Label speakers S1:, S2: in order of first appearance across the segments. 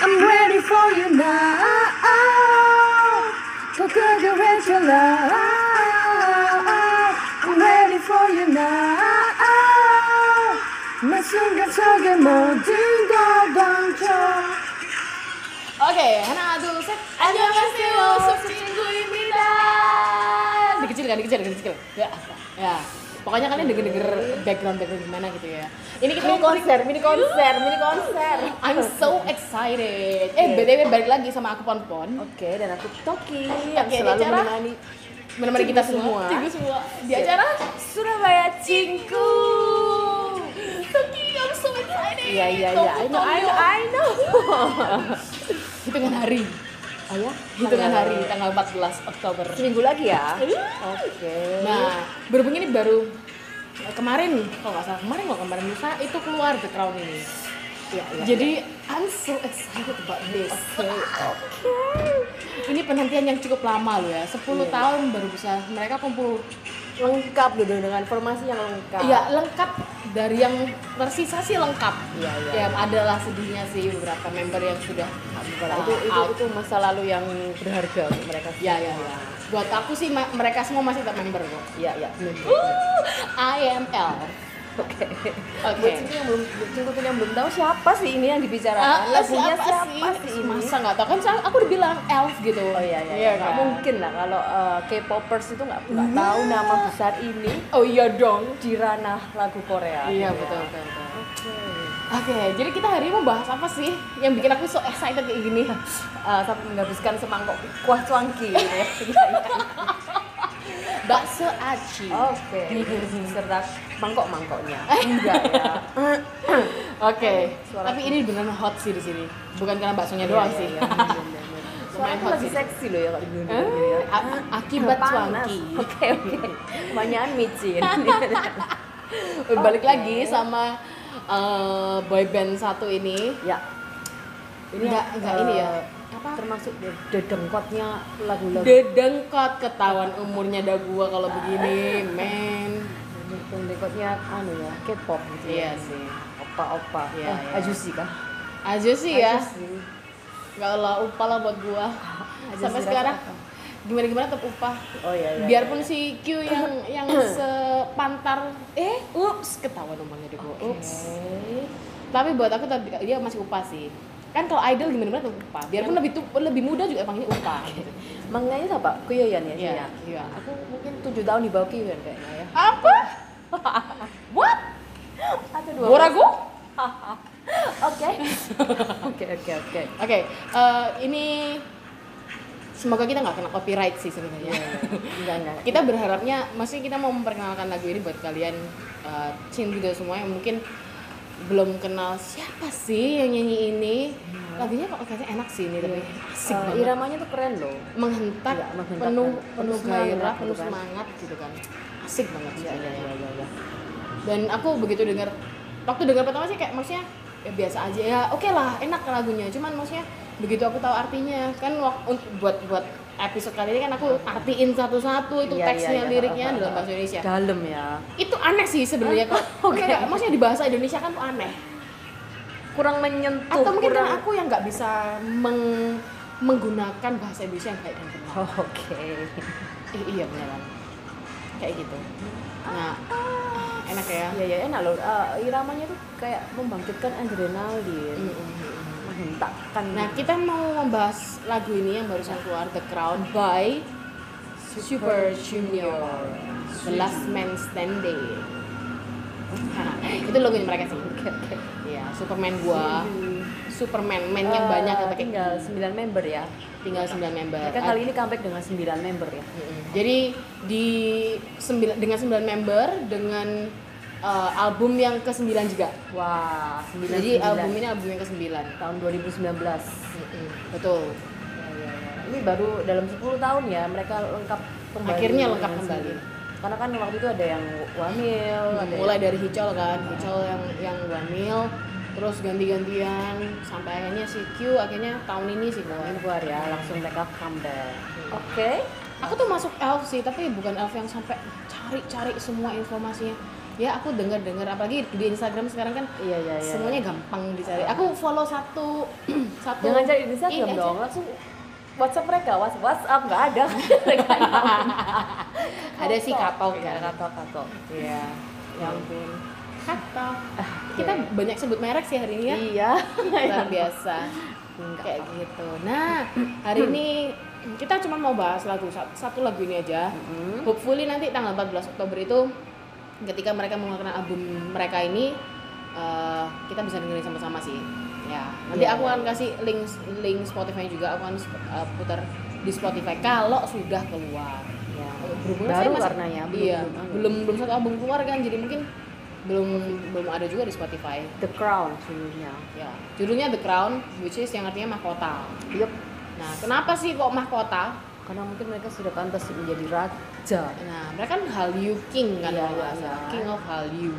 S1: I'm ready for you now. So could you raise your love? I'm ready for you now. 내 순간 속에 모든 걸 던져.
S2: Oke, hanak hanak dulu. Annyeonghaseyo, Sob-Jinggu입니다. Dikecil kan, dikecil, dikecil. Ya, apa? ya. Pokoknya kalian denger-denger background background gimana gitu ya. Ini kita
S3: Mini konser, mini konser, mini konser. Iya.
S2: I'm so excited. Eh, btw balik lagi sama aku Pon Pon.
S3: Oke, dan aku Toki
S2: Oke,
S3: yang
S2: di
S3: selalu
S2: acara?
S3: menemani
S2: Menemani kita semua.
S3: Tiga
S2: semua. Di acara
S3: Surabaya Cingku.
S2: Toki, I'm so excited.
S3: Iya, iya, iya. I know, I know, I know.
S2: Hitungan hari.
S3: Oh ya?
S2: Hitungan hari tanggal 14 Oktober.
S3: Seminggu lagi ya? Oke.
S2: Nah, berhubung ini baru eh, kemarin kalau nggak salah kemarin nggak kemarin lusa itu keluar The Crown ini.
S3: Iya, iya.
S2: Jadi I'm so excited about this. Ini penantian yang cukup lama loh ya, 10 tahun baru bisa mereka kumpul.
S3: Iya. lengkap gitu dengan formasi yang lengkap.
S2: Ya lengkap dari yang tersisa sih lengkap.
S3: Iya, iya,
S2: Ya adalah sedihnya sih beberapa member yang sudah
S3: Nah, itu, itu,
S2: out.
S3: itu masa lalu yang berharga untuk mereka.
S2: Ya ya ya. Buat aku sih ma- mereka semua masih tetap member kok.
S3: Iya, iya. bener.
S2: IML.
S3: Oke.
S2: Oke.
S3: Buat Cingku yang belum Cingku yang belum tahu siapa sih ini yang
S2: Ah,
S3: dibicarakan?
S2: ah,
S3: Lagunya siapa, sih ini?
S2: Masa nggak tahu kan saya- aku udah bilang elf gitu.
S3: Oh iya iya,
S2: Iya
S3: nggak
S2: kan?
S3: mungkin lah kalau eh, K-popers itu nggak nggak tahu nama besar ini
S2: Oh iya dong.
S3: di ranah lagu Korea.
S2: Iya
S3: gitu
S2: betul
S3: ya.
S2: betul. betul.
S3: Oke.
S2: Oke, jadi kita hari ini mau bahas apa sih yang bikin aku so excited kayak gini?
S3: Eh, sampai menghabiskan semangkok kuah cuangki. gitu ya. Iya, iya.
S2: Bakso aci.
S3: Oke. Serta mangkok-mangkoknya. Enggak ya.
S2: Oke.
S3: Suara
S2: Tapi ini beneran hot sih di sini. Bukan karena baksonya
S3: Iya,
S2: doang
S3: iya,
S2: sih.
S3: iya, bener, bener. Suara
S2: Lumayan
S3: aku
S2: hot
S3: lebih
S2: sih.
S3: seksi loh ya kalau di dunia
S2: Eh,
S3: ya.
S2: a- Akibat
S3: Panas.
S2: cuanki.
S3: Oke oke. Kebanyakan micin.
S2: Eh, Balik
S3: Oke.
S2: lagi sama eh, boy boyband satu ini.
S3: ya.
S2: Nggak- nggak ini ya.
S3: Apa? Termasuk dedengkotnya lagu-lagu
S2: Dedengkot ketahuan umurnya dah gua kalau begini, men.
S3: Mungkin dekotnya anu ya, K-pop gitu
S2: Iya
S3: ya.
S2: sih.
S3: Opa-opa.
S2: Iya,
S3: eh,
S2: iya.
S3: Ajusi kah?
S2: Aja sih ya.
S3: Ajusi.
S2: Gak lah upah lah buat gua.
S3: Ajusi
S2: Sampai
S3: rasa
S2: sekarang
S3: apa?
S2: gimana gimana tetap upah.
S3: Oh iya iya.
S2: Biarpun si Q yang yang sepantar eh ups ketahuan umurnya deh gua. Ups.
S3: Oke.
S2: Tapi buat aku tetap dia masih upah sih. Kan kalau idol gimana gimana tetap upah. Biarpun lebih tu, lebih muda juga panggilnya upah. gitu.
S3: Manganya siapa? Kuyoyan ya?
S2: Iya,
S3: Iya.
S2: iya.
S3: Aku mungkin 7 tahun di bawah Kuyoyan kayaknya ya.
S2: Apa? What?
S3: Atau dua.
S2: Bora gua?
S3: Oke. Oke oke oke.
S2: Oke, eh, ini semoga kita nggak kena copyright sih
S3: Iya,
S2: sebenarnya.
S3: Enggak enggak.
S2: kita berharapnya, maksudnya kita mau memperkenalkan lagu ini buat kalian eh, Cin juga semua yang mungkin belum kenal siapa sih yang nyanyi ini. Lagunya kok kayaknya enak sih ini tapi asik
S3: Iya. Eh,
S2: banget.
S3: iramanya tuh keren loh.
S2: Menghentak,
S3: Iya, menghentak
S2: penuh
S3: banget.
S2: penuh
S3: Penuh
S2: gairah,
S3: semangat
S2: penuh
S3: gitu kan.
S2: semangat gitu kan. Asik banget sih.
S3: Iya iya iya iya. iya.
S2: Dan aku begitu dengar waktu dengar pertama sih kayak maksudnya ya biasa aja ya oke lah enak lagunya cuman maksudnya begitu aku tahu artinya kan waktu buat buat episode kali ini kan aku artiin satu-satu itu
S3: Iya,
S2: teksnya
S3: iya, iya.
S2: liriknya
S3: Ha, ha,
S2: dalam
S3: ha.
S2: bahasa Indonesia
S3: Dalam ya.
S2: itu aneh sih sebenarnya kok
S3: Oke.
S2: Enggak, enggak. maksudnya di bahasa Indonesia kan tuh aneh
S3: Kurang menyentuh.
S2: atau mungkin
S3: kurang...
S2: karena aku yang nggak bisa meng- menggunakan bahasa Indonesia yang baik dan benar
S3: Oh, Oke.
S2: Eh, iya beneran kayak gitu nah enak ya
S3: Iya iya enak loh. Eh, iramanya tuh kayak membangkitkan adrenalin,
S2: Mm-mm.
S3: menghentakkan.
S2: Nah, kita mau membahas lagu ini yang barusan keluar The Crown by Super Junior. The Last Man Standing. Hah, itu logonya mereka sih.
S3: Oke oke.
S2: Iya, Superman gua. Superman, man yang
S3: Eh,
S2: banyak yang pakai
S3: tinggal 9 member ya.
S2: tinggal 9 member. Eh,
S3: Mereka kali ini comeback dengan 9 member ya.
S2: Mm-mm. Jadi di sembilan dengan 9 member dengan uh, album yang ke-9 juga.
S3: Wah, 9
S2: Jadi album ini album yang ke-9.
S3: tahun
S2: Betul.
S3: 2019. Ya, ya, ya. Ini baru dalam 10 tahun ya mereka lengkap kembali.
S2: Akhirnya lengkap
S3: dengan
S2: kembali.
S3: sendiri. Karena kan waktu itu ada yang wamil, ada
S2: mulai dari Hicol kan Hicol yang yang Wanil terus ganti-gantian sampai akhirnya si Q akhirnya tahun ini sih
S3: Tahun
S2: keluar.
S3: ini keluar ya, langsung mereka comeback. Oke.
S2: Aku tuh masuk elf sih, tapi bukan elf yang sampai cari-cari semua informasinya. Ya aku dengar-dengar apalagi di Instagram sekarang kan
S3: Iya, iya, iya.
S2: semuanya gampang dicari. Aku follow satu satu
S3: Jangan cari di Instagram
S2: ini aja.
S3: dong, langsung WhatsApp mereka, Whats- WhatsApp nggak ada.
S2: Ada sih kapau
S3: Iya,
S2: kan.
S3: kapau kapau. Iya.
S2: Ya ampun.
S3: Ah,
S2: Kapau. Kita banyak sebut merek sih hari ini ya.
S3: Iya.
S2: luar biasa kayak gitu nah hari ini kita cuma mau bahas lagu sat- satu lagu ini aja hopefully nanti tanggal 14 Oktober itu ketika mereka mengeluarkan album mereka ini eh, kita bisa dengerin sama-sama sih ya nanti
S3: Iya,
S2: aku
S3: iya,
S2: akan
S3: iya.
S2: kasih link link Spotify juga aku akan sp- eh, putar di Spotify kalau sudah keluar
S3: Iya.
S2: Berhubung
S3: Baru
S2: saya masih-
S3: karena ya, belum-
S2: iya,
S3: belum-
S2: belum belum satu album keluar kan jadi mungkin belum belum ada juga di Spotify
S3: The Crown judulnya.
S2: Ya, judulnya The Crown, which is yang artinya mahkota.
S3: Yup.
S2: Nah, kenapa sih kok mahkota?
S3: Karena mungkin mereka sudah pantas menjadi raja.
S2: Nah, mereka kan Hallyu King kan,
S3: Iya,
S2: kalau nggak
S3: iya,
S2: salah.
S3: iya.
S2: King of Hallyu.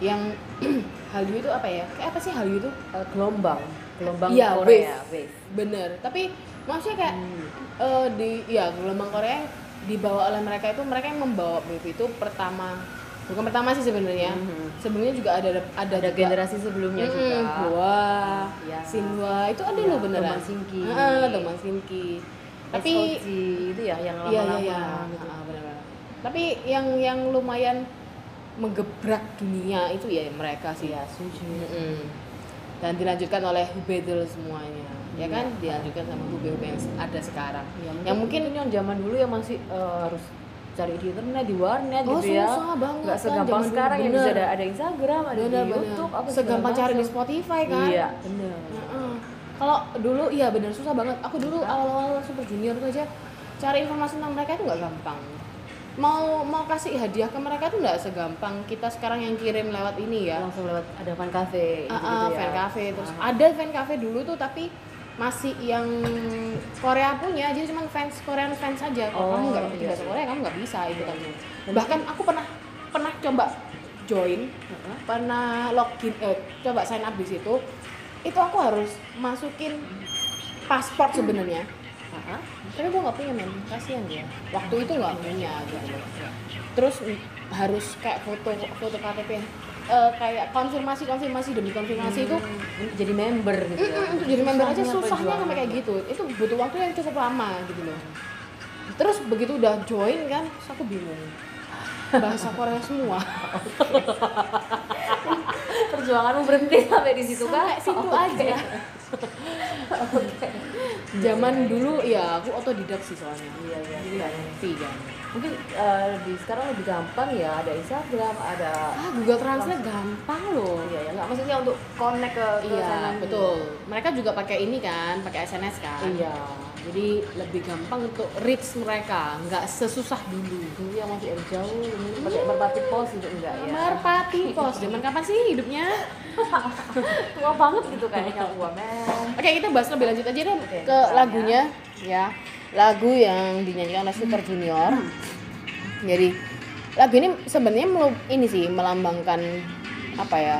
S2: Yang Hallyu itu apa ya? Kayak apa sih Hallyu itu?
S3: Eh, gelombang, gelombang
S2: Iya,
S3: Korea,
S2: wave.
S3: wave.
S2: Bener. Tapi maksudnya kayak
S3: Hmm.
S2: eh, di, ya gelombang Korea yang dibawa oleh mereka itu mereka yang membawa wave itu pertama bukan pertama sih sebenarnya
S3: Mhm.
S2: sebelumnya juga ada ada,
S3: Ada
S2: juga-
S3: generasi sebelumnya
S2: Mm,
S3: juga.
S2: Goa,
S3: Iya.
S2: Sinwa, itu ada
S3: Iya,
S2: loh beneran.
S3: Tomang Singki.
S2: Heeh, Tomang Singki. Tapi
S3: SOG, itu ya yang
S2: iya iya
S3: lama-lama.
S2: iya.
S3: gitu.
S2: Heeh, benar-benar. Tapi yang yang lumayan menggebrak dunia itu ya mereka sih ya.
S3: Iya, setuju.
S2: Dan dilanjutkan oleh Hubedel semuanya. Ya
S3: Iya.
S2: kan dilanjutkan sama Hube-hube yang ada sekarang.
S3: Ya,
S2: yang mungkin
S3: ini yang zaman dulu yang masih eh, harus cari di internet di warnet
S2: Oh,
S3: gitu ya
S2: susah banget kan
S3: nggak segampang
S2: zaman dulu,
S3: sekarang yang bisa
S2: bener.
S3: ada ada Instagram ada di
S2: benar-benar
S3: YouTube apa segala
S2: segampang cari di
S3: macam.
S2: Spotify kan.
S3: iya benar
S2: Heeh. Kalau dulu iya bener susah banget. Aku dulu awal-awal Super Junior tuh aja cari informasi tentang mereka itu nggak gampang. Mau mau kasih hadiah ke mereka tuh nggak segampang kita sekarang yang kirim lewat ini ya.
S3: langsung lewat ada fan cafe gitu,
S2: Ah, ah, fan cafe terus ada fan cafe dulu tuh tapi masih yang Korea punya jadi cuma fans Korean fans aja kalau
S3: Oh,
S2: kamu nggak
S3: iya,
S2: tidak
S3: iya.
S2: Korea kamu nggak bisa itu kan bahkan aku pernah pernah coba join pernah login eh, coba sign up di situ itu aku harus masukin paspor sebenarnya tapi gue nggak punya men kasihan dia waktu itu nggak punya gitu terus mm, harus kayak foto foto KTP eh, kayak konfirmasi konfirmasi demi konfirmasi itu
S3: Hmm. jadi member gitu ya.
S2: Mm-mm, untuk jadi member aja
S3: Susahnya
S2: susahnya sampai kayak gitu itu butuh waktu yang cukup lama gitu loh terus begitu udah join kan terus aku bingung bahasa Korea semua
S3: perjuangan. perjuanganmu berhenti sampai di situ kan
S2: Sampai situ aja zaman dulu ya aku otodidak sih soalnya
S3: Iya, iya,
S2: jadi nggak
S3: iya.
S2: ngerti kan
S3: mungkin eh, lebih sekarang lebih gampang ya ada Instagram ada
S2: ah Google Translate gampang loh
S3: iya ya nggak maksudnya untuk connect ke, ke sana
S2: Iya,
S3: gitu.
S2: betul. Mereka juga pakai ini kan, pakai SNS kan.
S3: iya
S2: Jadi lebih gampang untuk reach mereka, nggak sesusah dulu.
S3: dulu yang Iya, masih air jauh ini pakai merpati pos gitu enggak ya
S2: Merpati Pos, zaman kapan sih hidupnya?
S3: tua banget gitu kayaknya gua men
S2: Oke, kita bahas lebih lanjut aja deh
S3: Oke,
S2: ke lagunya ya. Lagu yang dinyanyikan oleh Super Junior. Jadi lagu ini sebenarnya melu- ini sih melambangkan apa ya?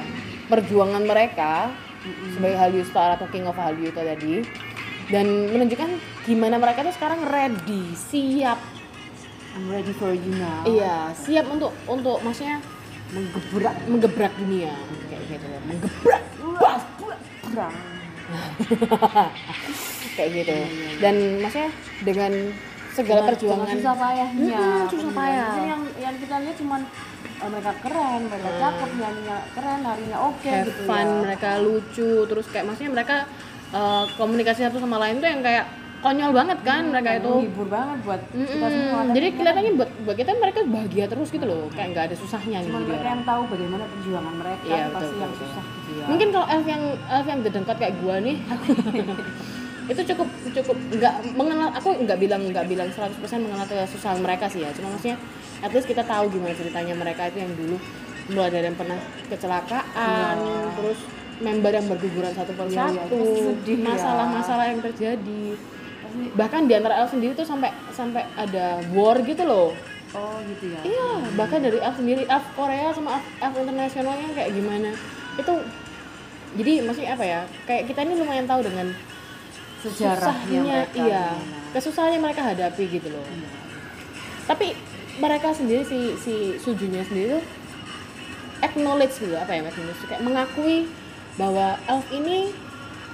S2: perjuangan mereka sebagai Hallyu Star atau King of Hallyu itu tadi dan menunjukkan gimana mereka tuh sekarang ready, siap
S3: I'm ready for you now
S2: Iya, siap untuk untuk maksudnya menggebrak menggebrak dunia kayak gitu loh. Menggebrak bas, bas, bas. kayak gitu. Dan maksudnya dengan segala perjuangan
S3: susah iya. payahnya
S2: Mm-mm, susah payah.
S3: Mungkin yang yang kita lihat cuman eh, mereka keren mereka cakep nyanyinya keren narinya oke
S2: have
S3: gitu
S2: fun,
S3: ya
S2: mereka lucu, terus kayak maksudnya mereka eh, komunikasi satu sama lain tuh yang kayak konyol banget kan mereka itu. Hmm.
S3: hibur banget buat kita
S2: Mm-mm.
S3: semua Tapi
S2: Jadi kelihatannya buat buat kita mereka bahagia terus gitu loh, kayak nggak ada susahnya gitu.
S3: cuman
S2: dia
S3: mereka yang tahu bagaimana perjuangan mereka
S2: Iya,
S3: pasti
S2: betul,
S3: yang
S2: betul.
S3: susah gitu ya
S2: Mungkin kalau elf yang elf yang dedengkot kayak gua nih itu cukup cukup nggak mengenal aku nggak bilang nggak bilang 100% mengenal kesusahan mereka sih ya cuma maksudnya at least kita tahu gimana ceritanya mereka itu yang dulu mulai dari yang pernah kecelakaan terus member yang berguguran satu
S3: Iya, iya,
S2: persatu
S3: pasti sedih ya.
S2: masalah-masalah yang terjadi bahkan di antara elf sendiri tuh sampai sampai ada war gitu loh
S3: oh gitu ya
S2: Iya, bahkan dari elf sendiri, elf Korea sama elf, elf internasionalnya kayak gimana. Itu jadi maksudnya apa ya kayak kita ini lumayan tahu dengan
S3: sejarahnya mereka Iya.
S2: iya
S3: gimana.
S2: kesusahannya mereka hadapi gitu loh tapi mereka sendiri si si sujunya sendiri tuh acknowledge gitu apa ya maksudnya kayak mengakui bahwa elf ini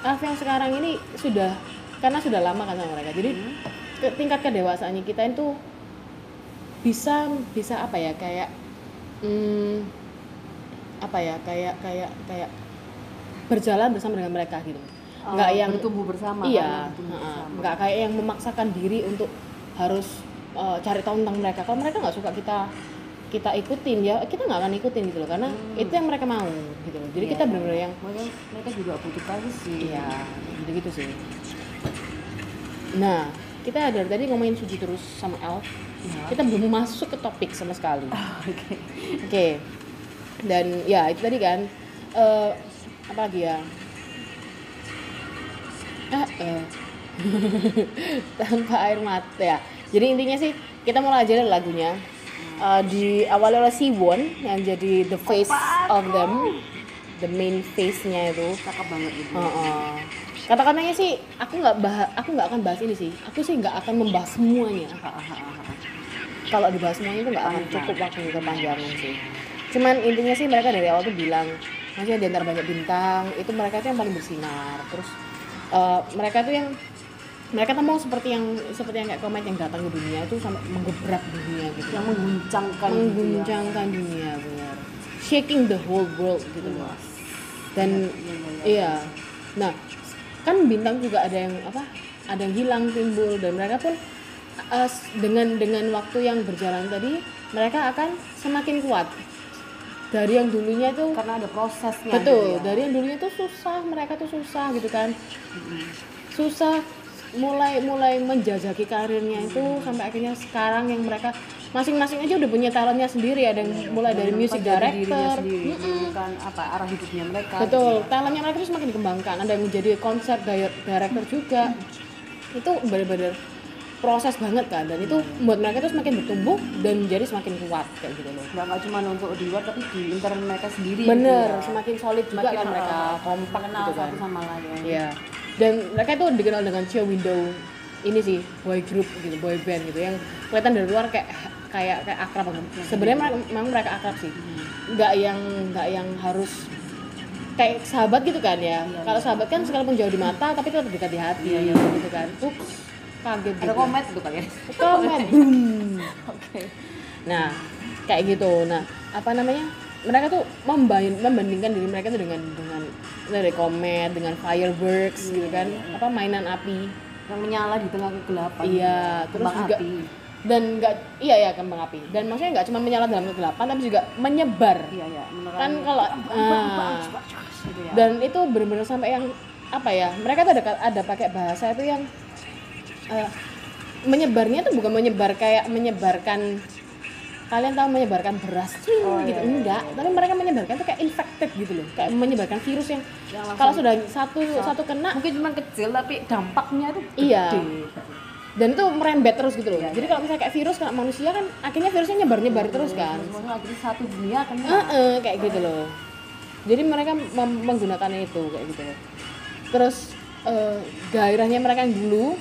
S2: elf yang sekarang ini sudah karena sudah lama kan sama mereka jadi
S3: Hmm.
S2: ke, tingkat kedewasaannya kita itu bisa bisa apa ya kayak hmm, apa ya kayak kayak kayak berjalan bersama dengan mereka gitu
S3: Oh,
S2: nggak yang
S3: bertumbuh bersama karena
S2: iya
S3: bertumbuh
S2: heeh.
S3: bersama.
S2: nggak kayak yang memaksakan diri untuk harus eh, cari tahu tentang mereka kalau mereka nggak suka kita kita ikutin ya kita nggak akan ikutin gitu loh karena itu yang mereka mau gitu loh jadi
S3: Hmm. Iya.
S2: kita benar-benar yang
S3: mereka mereka juga butuh privacy
S2: iya gitu gitu sih nah kita dari tadi ngomongin suji terus sama elf
S3: Iya.
S2: kita belum masuk ke topik sama sekali Ah, oke dan ya itu tadi kan Eh apa lagi ya Ah, eh. tanpa air mata ya jadi intinya sih kita mulai aja dari lagunya Eh di awalnya oleh Siwon yang jadi the face of them the main face nya itu
S3: cakep banget gitu
S2: Heeh. kata-katanya sih aku nggak bah aku nggak akan bahas ini sih aku sih nggak akan membahas semuanya
S3: Ha, ha, ha, ha.
S2: kalau dibahas semuanya itu nggak akan
S3: Panjang.
S2: cukup waktu kepanjangan sih cuman intinya sih mereka dari awal tuh bilang maksudnya di antara banyak bintang itu mereka tuh yang paling bersinar terus eh, mereka tuh yang mereka tuh mau seperti yang seperti yang kayak komet yang datang ke dunia itu sampai menggebrak dunia gitu
S3: yang mengguncangkan gitu ya.
S2: mengguncangkan dunia benar shaking the whole world gitu loh dan iya nah kan bintang juga ada yang apa ada yang hilang timbul dan mereka pun eh, s- dengan dengan waktu yang berjalan tadi mereka akan semakin kuat dari yang dulunya itu
S3: karena ada prosesnya
S2: betul
S3: gitu ya.
S2: dari yang dulunya tuh susah mereka tuh susah gitu kan susah mulai mulai menjajaki karirnya itu sampai akhirnya sekarang yang mereka masing-masing aja udah punya talentnya sendiri ada
S3: Iya,
S2: yang mulai dari
S3: Menemukan
S2: music
S3: dari dirinya
S2: director
S3: sendiri, menemukan apa arah hidupnya mereka gitu.
S2: Betul, talentnya mereka terus makin dikembangkan. Ada yang menjadi konser dire- director juga. Itu benar-benar proses banget kan dan itu
S3: Iya.
S2: buat mereka terus makin bertumbuh dan menjadi semakin kuat kayak gitu loh.
S3: nggak nggak cuma untuk di luar tapi di internal mereka sendiri
S2: Bener,
S3: gitu ya.
S2: semakin solid juga
S3: Makin,
S2: kan mereka
S3: uh,
S2: kompak
S3: kenal
S2: gitu kan.
S3: satu sama lain
S2: Iya. Dan mereka itu dikenal dengan Cio Window ini sih boy group gitu, boy band gitu yang kelihatan dari luar kayak kayak kayak akrab banget. Sebenarnya mereka, memang mereka akrab sih. Nggak yang nggak yang harus kayak sahabat gitu kan ya. Kalau sahabat kan sekalipun jauh di mata tapi tetap dekat di hati gitu kan. Ups, kaget
S3: ada
S2: gitu.
S3: komet tuh kali ya
S2: Komen. Boom.
S3: oke
S2: Nah, kayak gitu. Nah, apa namanya? Mereka tuh membain- membandingkan diri mereka tuh dengan dengan dari komet, dengan fireworks
S3: Iya,
S2: gitu kan, apa mainan api.
S3: yang menyala di tengah kegelapan
S2: Iya,
S3: gitu.
S2: terus
S3: Kembang
S2: juga
S3: api.
S2: dan nggak iya ya kembang api. Dan maksudnya nggak cuma menyala dalam kegelapan tapi juga menyebar.
S3: iya iya menerangi.
S2: Kan kalau
S3: Bang,
S2: ah.
S3: cepat, cepat, gitu ya.
S2: dan itu bener-bener sampai yang apa ya? Mereka tuh ada ada pakai bahasa itu yang eh, menyebarnya tuh bukan menyebar kayak menyebarkan kalian tahu menyebarkan beras cuing,
S3: Oh, iya,
S2: gitu enggak tapi mereka menyebarkan tuh kayak infected gitu loh kayak menyebarkan virus yang
S3: Yang langsung-
S2: kalau sudah satu satu kena
S3: mungkin cuma kecil tapi dampaknya tuh
S2: Iya.
S3: gede. Iya,
S2: dan itu merembet terus gitu loh jadi kalau misalnya kayak virus kena manusia kan akhirnya virusnya nyebar nyebar terus kan
S3: semuanya akhirnya satu dunia kan
S2: Heeh, kayak gitu loh. Jadi mereka mem- menggunakan itu kayak gitu. loh. Terus eh, gairahnya mereka yang dulu,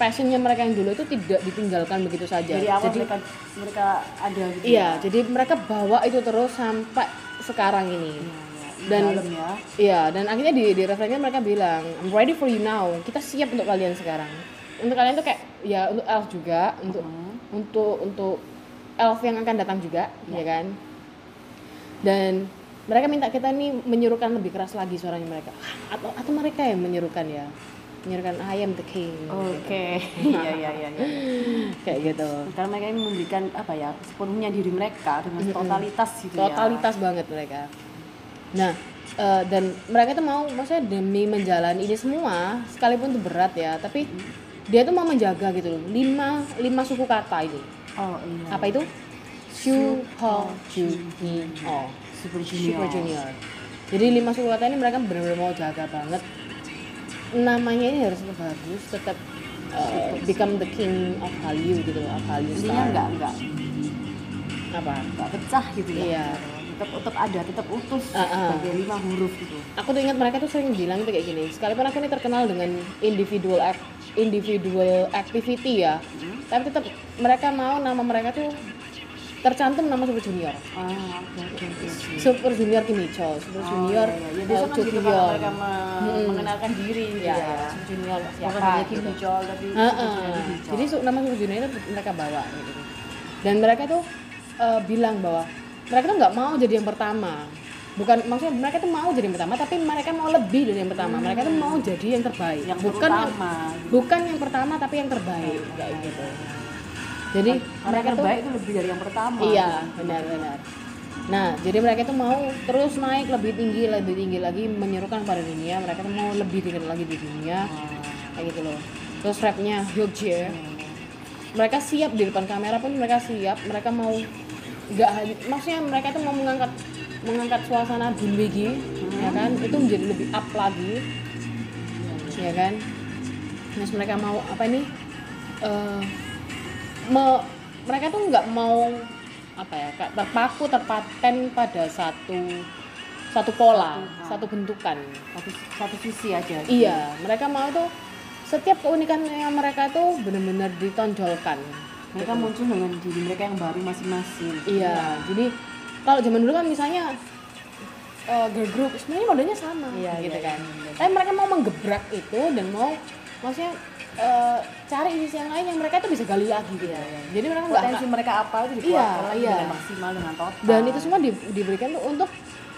S2: passionnya mereka yang dulu itu tidak ditinggalkan begitu saja.
S3: dari awal
S2: Jadi-
S3: mereka mereka ada gitu
S2: iya,
S3: ya.
S2: jadi mereka bawa itu terus sampai sekarang ini. Dan-
S3: dan Iya, dalam ya
S2: Iya, dan akhirnya di di refrainnya mereka bilang, I'm ready for you now. Kita siap untuk kalian sekarang. Untuk kalian tuh kayak ya untuk elf juga, untuk
S3: Mm-hmm.
S2: untuk untuk elf yang akan datang juga,
S3: Iya.
S2: ya kan? Dan mereka minta kita nih menyerukan lebih keras lagi suaranya mereka. Ah, Atau atau mereka yang menyerukan ya. Menyerukan I am the king.
S3: Oh, oke iya iya iya iya.
S2: Kayak gitu.
S3: karena mereka ini memberikan apa ya sepenuhnya diri mereka dengan totalitas gitu ya
S2: totalitas banget mereka nah eh, dan mereka tuh mau maksudnya demi menjalani ini semua sekalipun itu berat ya tapi
S3: Hmm.
S2: dia tuh mau menjaga gitu loh lima lima suku kata itu
S3: oh iya
S2: apa itu Shu Ho Ju Ni O
S3: super junior,
S2: Super Junior jadi lima suku kata ini mereka benar-benar mau jaga banget namanya ini harus tetap bagus tetap eh, become the king of Hallyu gitu loh of Hallyu
S3: intinya
S2: Star
S3: nggak nggak
S2: apa
S3: nggak pecah gitu ya
S2: Iya.
S3: tetap tetap ada tetap utuh
S2: Ah, ah.
S3: sebagai lima huruf gitu
S2: aku tuh ingat mereka tuh sering bilang tuh kayak gini sekalipun aku ini terkenal dengan individual act individual activity ya
S3: Hmm.
S2: tapi tetap mereka mau nama mereka tuh tercantum nama super junior
S3: ah oke oke oke
S2: super junior Kim Hee-chol, super junior
S3: ya, ya.
S2: oh,
S3: biasa kan gitu kalau mereka me-
S2: Mm.
S3: mengenalkan diri iya. gitu
S2: ya,
S3: ya,
S2: ya, super junior
S3: bukan
S2: siapa
S3: hanya Kim
S2: gitu.
S3: Hee-chol, tapi
S2: Heeh.
S3: Kim
S2: Jadi su- nama Super Junior itu mereka bawa gitu. Dan mereka tuh eh, bilang bahwa mereka tuh nggak mau jadi yang pertama. Bukan maksudnya mereka tuh mau jadi yang pertama, tapi mereka mau lebih dari yang pertama. Mereka tuh mau jadi yang terbaik.
S3: yang
S2: bukan yang-
S3: terutama
S2: bukan yang pertama tapi yang terbaik kayak gitu. Jadi
S3: karena yang
S2: mereka tuh
S3: terbaik itu lebih dari yang pertama
S2: Iya, benar-benar. Nah, jadi mereka tuh mau terus naik lebih tinggi, lebih tinggi lagi menyerukan pada dunia. Mereka tuh mau lebih tinggi lagi di dunia, kayak gitu loh. Terus rapnya Hyukje, mereka siap di depan kamera pun mereka siap. Mereka mau nggak hanya, maksudnya mereka tuh mau mengangkat mengangkat suasana Bunbegi, ya kan? Itu menjadi lebih up lagi, ya kan? Terus mereka mau apa nih? Eh, me- mereka tuh nggak mau apa ya kayak terpaku terpaten pada satu satu pola satu bentukan
S3: satu, satu sisi aja
S2: iya mereka mau tuh setiap keunikan yang mereka tuh bener-bener ditonjolkan
S3: mereka muncul dengan diri mereka yang baru masing-masing
S2: iya jadi kalau zaman dulu kan misalnya eh, girl group sebenarnya modelnya sama
S3: Iya,
S2: gitu
S3: iya,
S2: kan tapi mereka mau menggebrak itu dan mau maksudnya eh, cari sisi yang lain yang mereka tuh bisa gali lagi gitu jadi mereka nggak
S3: Iya, potensi mereka apa itu dikeluarkan
S2: Iya,
S3: lagi
S2: iya.
S3: dengan maksimal dengan total
S2: dan itu semua di- diberikan tuh untuk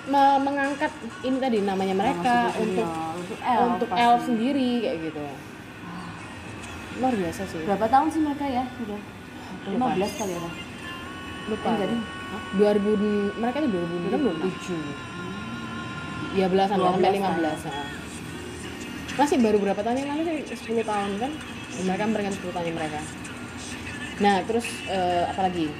S2: me- mengangkat ini tadi namanya mereka untuk
S3: oh, untuk
S2: untuk
S3: pasti. Ah.
S2: elf sendiri kayak gitu luar biasa sih
S3: berapa tahun sih mereka ya sudah
S2: Lupa.
S3: 15 kali ya Pak?
S2: lupa
S3: kan jadi
S2: 2000 di- mereka itu 2006 2007 ya belasan lah, sampai
S3: 12-an.
S2: 15 ah. masih baru berapa tahun yang lalu sih 10 tahun kan mereka mereka 10 tahun yang mereka nah terus eh, apalagi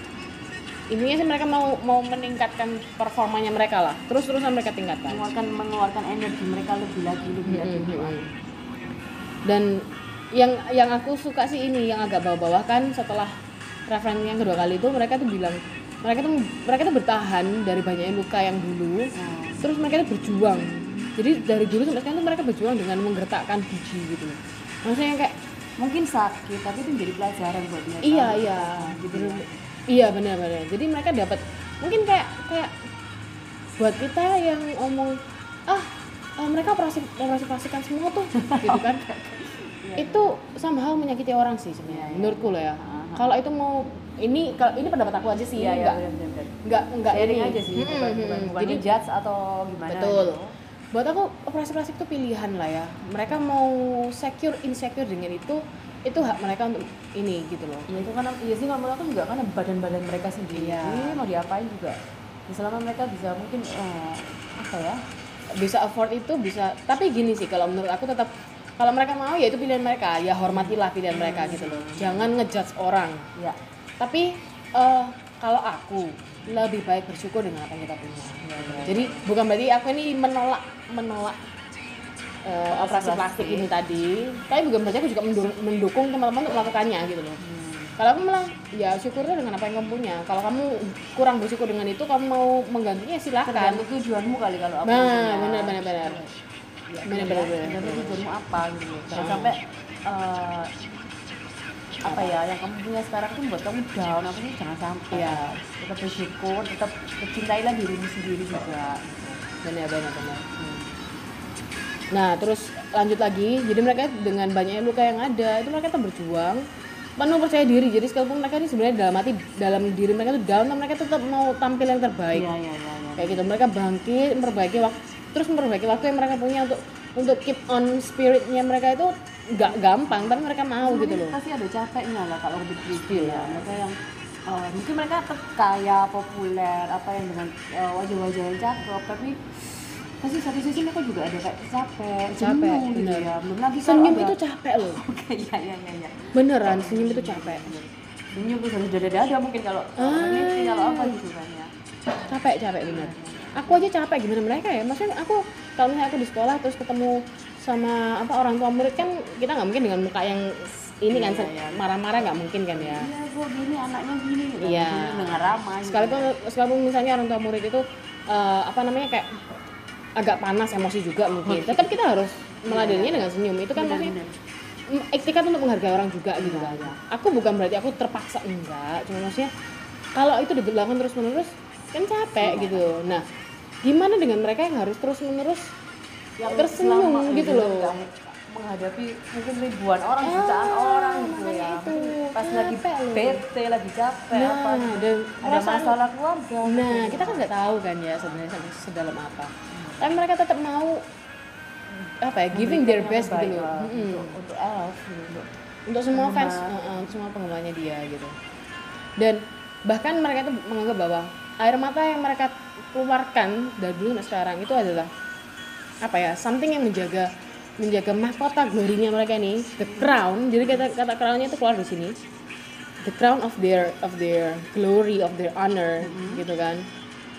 S2: intinya sih mereka mau mau meningkatkan performanya mereka lah terus terusan mereka tingkatkan
S3: mengeluarkan mengeluarkan energi mereka lebih lagi lebih lagi lebih lagi.
S2: Iya, Dan yang yang aku suka sih ini yang agak bawah-bawah kan setelah referen yang kedua kali itu mereka tuh bilang mereka tuh mereka tuh bertahan dari banyaknya luka yang dulu. Terus mereka tuh berjuang. Jadi dari dulu sampai sekarang tuh mereka berjuang dengan menggertakkan biji gitu. loh. Maksudnya kayak
S3: mungkin sakit tapi itu menjadi pelajaran buat mereka
S2: iya iya
S3: gitu
S2: bener.
S3: ya.
S2: Iya benar-benar. Jadi mereka dapat mungkin kayak kayak buat kita yang ngomong ah eh, mereka operasi operasi plastikan semua tuh gitu kan itu somehow menyakiti orang sih sebenarnya
S3: Iya, iya.
S2: menurutku loh ya
S3: Aha.
S2: kalau itu mau ini kalau ini pendapat aku aja sih
S3: iya
S2: nggak
S3: iya benar benar benar.
S2: nggak nggak
S3: sharing
S2: ini.
S3: aja sih
S2: Mm-mm,
S3: bukan bukan, bukan
S2: jadi
S3: judge atau gimana
S2: betul
S3: gitu.
S2: buat aku operasi plastik itu pilihan lah ya mereka mau secure insecure dengan itu itu hak mereka untuk ini gitu loh
S3: Ya itu kan iya sih menurut aku juga kan badan-badan mereka sendiri.
S2: Iya.
S3: Ini mau diapain juga. Ya, selama mereka bisa mungkin eh, apa ya?
S2: bisa afford itu bisa tapi gini sih kalau menurut aku tetap kalau mereka mau ya itu pilihan mereka ya hormatilah pilihan mereka gitu loh jangan ngejudge orang
S3: Ya.
S2: Kan. tapi eh, kalau aku lebih baik bersyukur dengan apa yang kita punya jadi bukan berarti aku ini menolak menolak eh, operasi plastik ini tadi tapi bukan berarti aku juga mendur- mendukung teman-teman untuk melakukannya gitu loh kalau aku bilang ya syukurlah dengan apa yang kamu punya kalau kamu kurang bersyukur dengan itu kamu mau menggantinya ya silahkan
S3: Tergantung tujuanmu kali kalau aku. gitu.
S2: nah benar benar benar benar benar benar
S3: Tergantung tujuanmu apa gitu. Jangan sampai eh, apa ya yang kamu punya sekarang tuh buat kamu down apa sih jangan sampai
S2: Iya.
S3: tetap bersyukur tetap cintailah dirimu sendiri juga
S2: benar benar benar nah terus lanjut lagi jadi mereka dengan banyaknya luka yang ada itu mereka tetap berjuang penuh percaya diri jadi sekalipun mereka ini sebenarnya dalam hati dalam diri mereka tuh down tapi mereka tetap mau tampil yang terbaik
S3: iya iya iya iya.
S2: kayak gitu mereka bangkit memperbaiki waktu terus memperbaiki waktu yang mereka punya untuk untuk keep on spiritnya mereka itu nggak gampang tapi mereka mau gitu loh Iya.
S3: pasti ada capeknya lah kalau lebih gitu ya mereka yang eh, mungkin mereka terkaya populer apa yang dengan eh, wajah-wajah yang cakep tapi pasti satu sisi mereka juga ada kayak capek
S2: Capek,
S3: jenuh gitu
S2: bener.
S3: ya belum lagi kalau
S2: senyum
S3: ada-
S2: itu capek loh
S3: oke iya iya iya iya
S2: beneran senyum itu capek
S3: senyum terus harus dada dada mungkin kalau kalau
S2: Ah.
S3: meeting, kalau apa gitu kan ya
S2: capek capek bener aku aja capek gimana mereka ya maksudnya aku kalau misalnya aku di sekolah terus ketemu sama apa orang tua murid kan kita nggak mungkin dengan muka yang s- ini kan se- marah-marah nggak mungkin kan ya
S3: Iya, gua gini anaknya gini gitu.
S2: Iya.
S3: Gini Dengan ramai. gitu.
S2: sekalipun sekalipun misalnya orang tua murid itu eh, apa namanya kayak agak panas emosi juga mungkin
S3: Hmm.
S2: tetap kita harus
S3: Iya.
S2: meladeninya dengan senyum itu kan maksudnya
S3: Bener-bener.
S2: mm, iktikat untuk menghargai orang juga gitu
S3: Iya,
S2: kan
S3: iya.
S2: aku bukan berarti aku terpaksa enggak cuma maksudnya kalau itu dilakukan terus menerus kan capek
S3: Iya.
S2: gitu nah gimana dengan mereka yang harus terus menerus tersenyum
S3: selama
S2: gitu
S3: hidup
S2: loh.
S3: kamu menghadapi mungkin ribuan orang,
S2: Ah,
S3: jutaan orang gitu
S2: makanya
S3: ya.
S2: itu.
S3: Pas lagi
S2: Capek loh.
S3: bete, lagi capek
S2: Nah,
S3: apa gitu.
S2: dan
S3: ada
S2: perasaan-
S3: masalah keluarga. gitu
S2: Nah, kita kan nggak tahu kan ya sebenarnya se- sedalam apa. Tapi mereka tetap mau apa ya, giving their best gitu loh. Mm-mm.
S3: Untuk, untuk elf gitu.
S2: Untuk semua fans, uh-uh, untuk semua penggemarnya dia gitu. Dan bahkan mereka tuh menganggap bahwa air mata yang mereka keluarkan dari dulu sampai sekarang itu adalah apa ya, something yang menjaga menjaga mahkota glorinya mereka ini, the crown. Jadi kata kata crownnya itu keluar di sini. The crown of their of their glory of their honor gitu kan.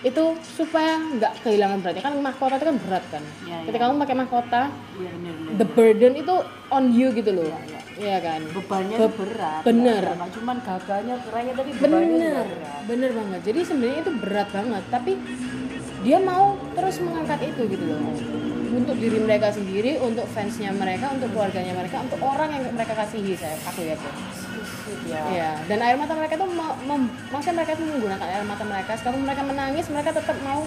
S2: Itu supaya nggak kehilangan beratnya kan mahkota itu kan berat kan.
S3: Iya,
S2: Ketika kamu pakai mahkota,
S3: Iya benar-benar.
S2: the burden itu on you gitu loh. Iya, kan?
S3: Bebannya
S2: Beb-
S3: berat. ya,
S2: bener.
S3: Nggak- nggak cuman gaganya kerennya tadi bebannya juga
S2: Bener,
S3: berat.
S2: bener banget. Jadi sebenarnya itu berat banget, tapi dia mau terus mengangkat itu gitu loh. Untuk diri mereka sendiri, untuk fansnya mereka, untuk keluarganya mereka, untuk orang yang mereka kasihi saya aku ya
S3: Ya.
S2: Iya, dan air mata mereka tuh mau, mem, maksudnya mereka tuh menggunakan air mata mereka. Sekalipun mereka menangis, mereka tetap mau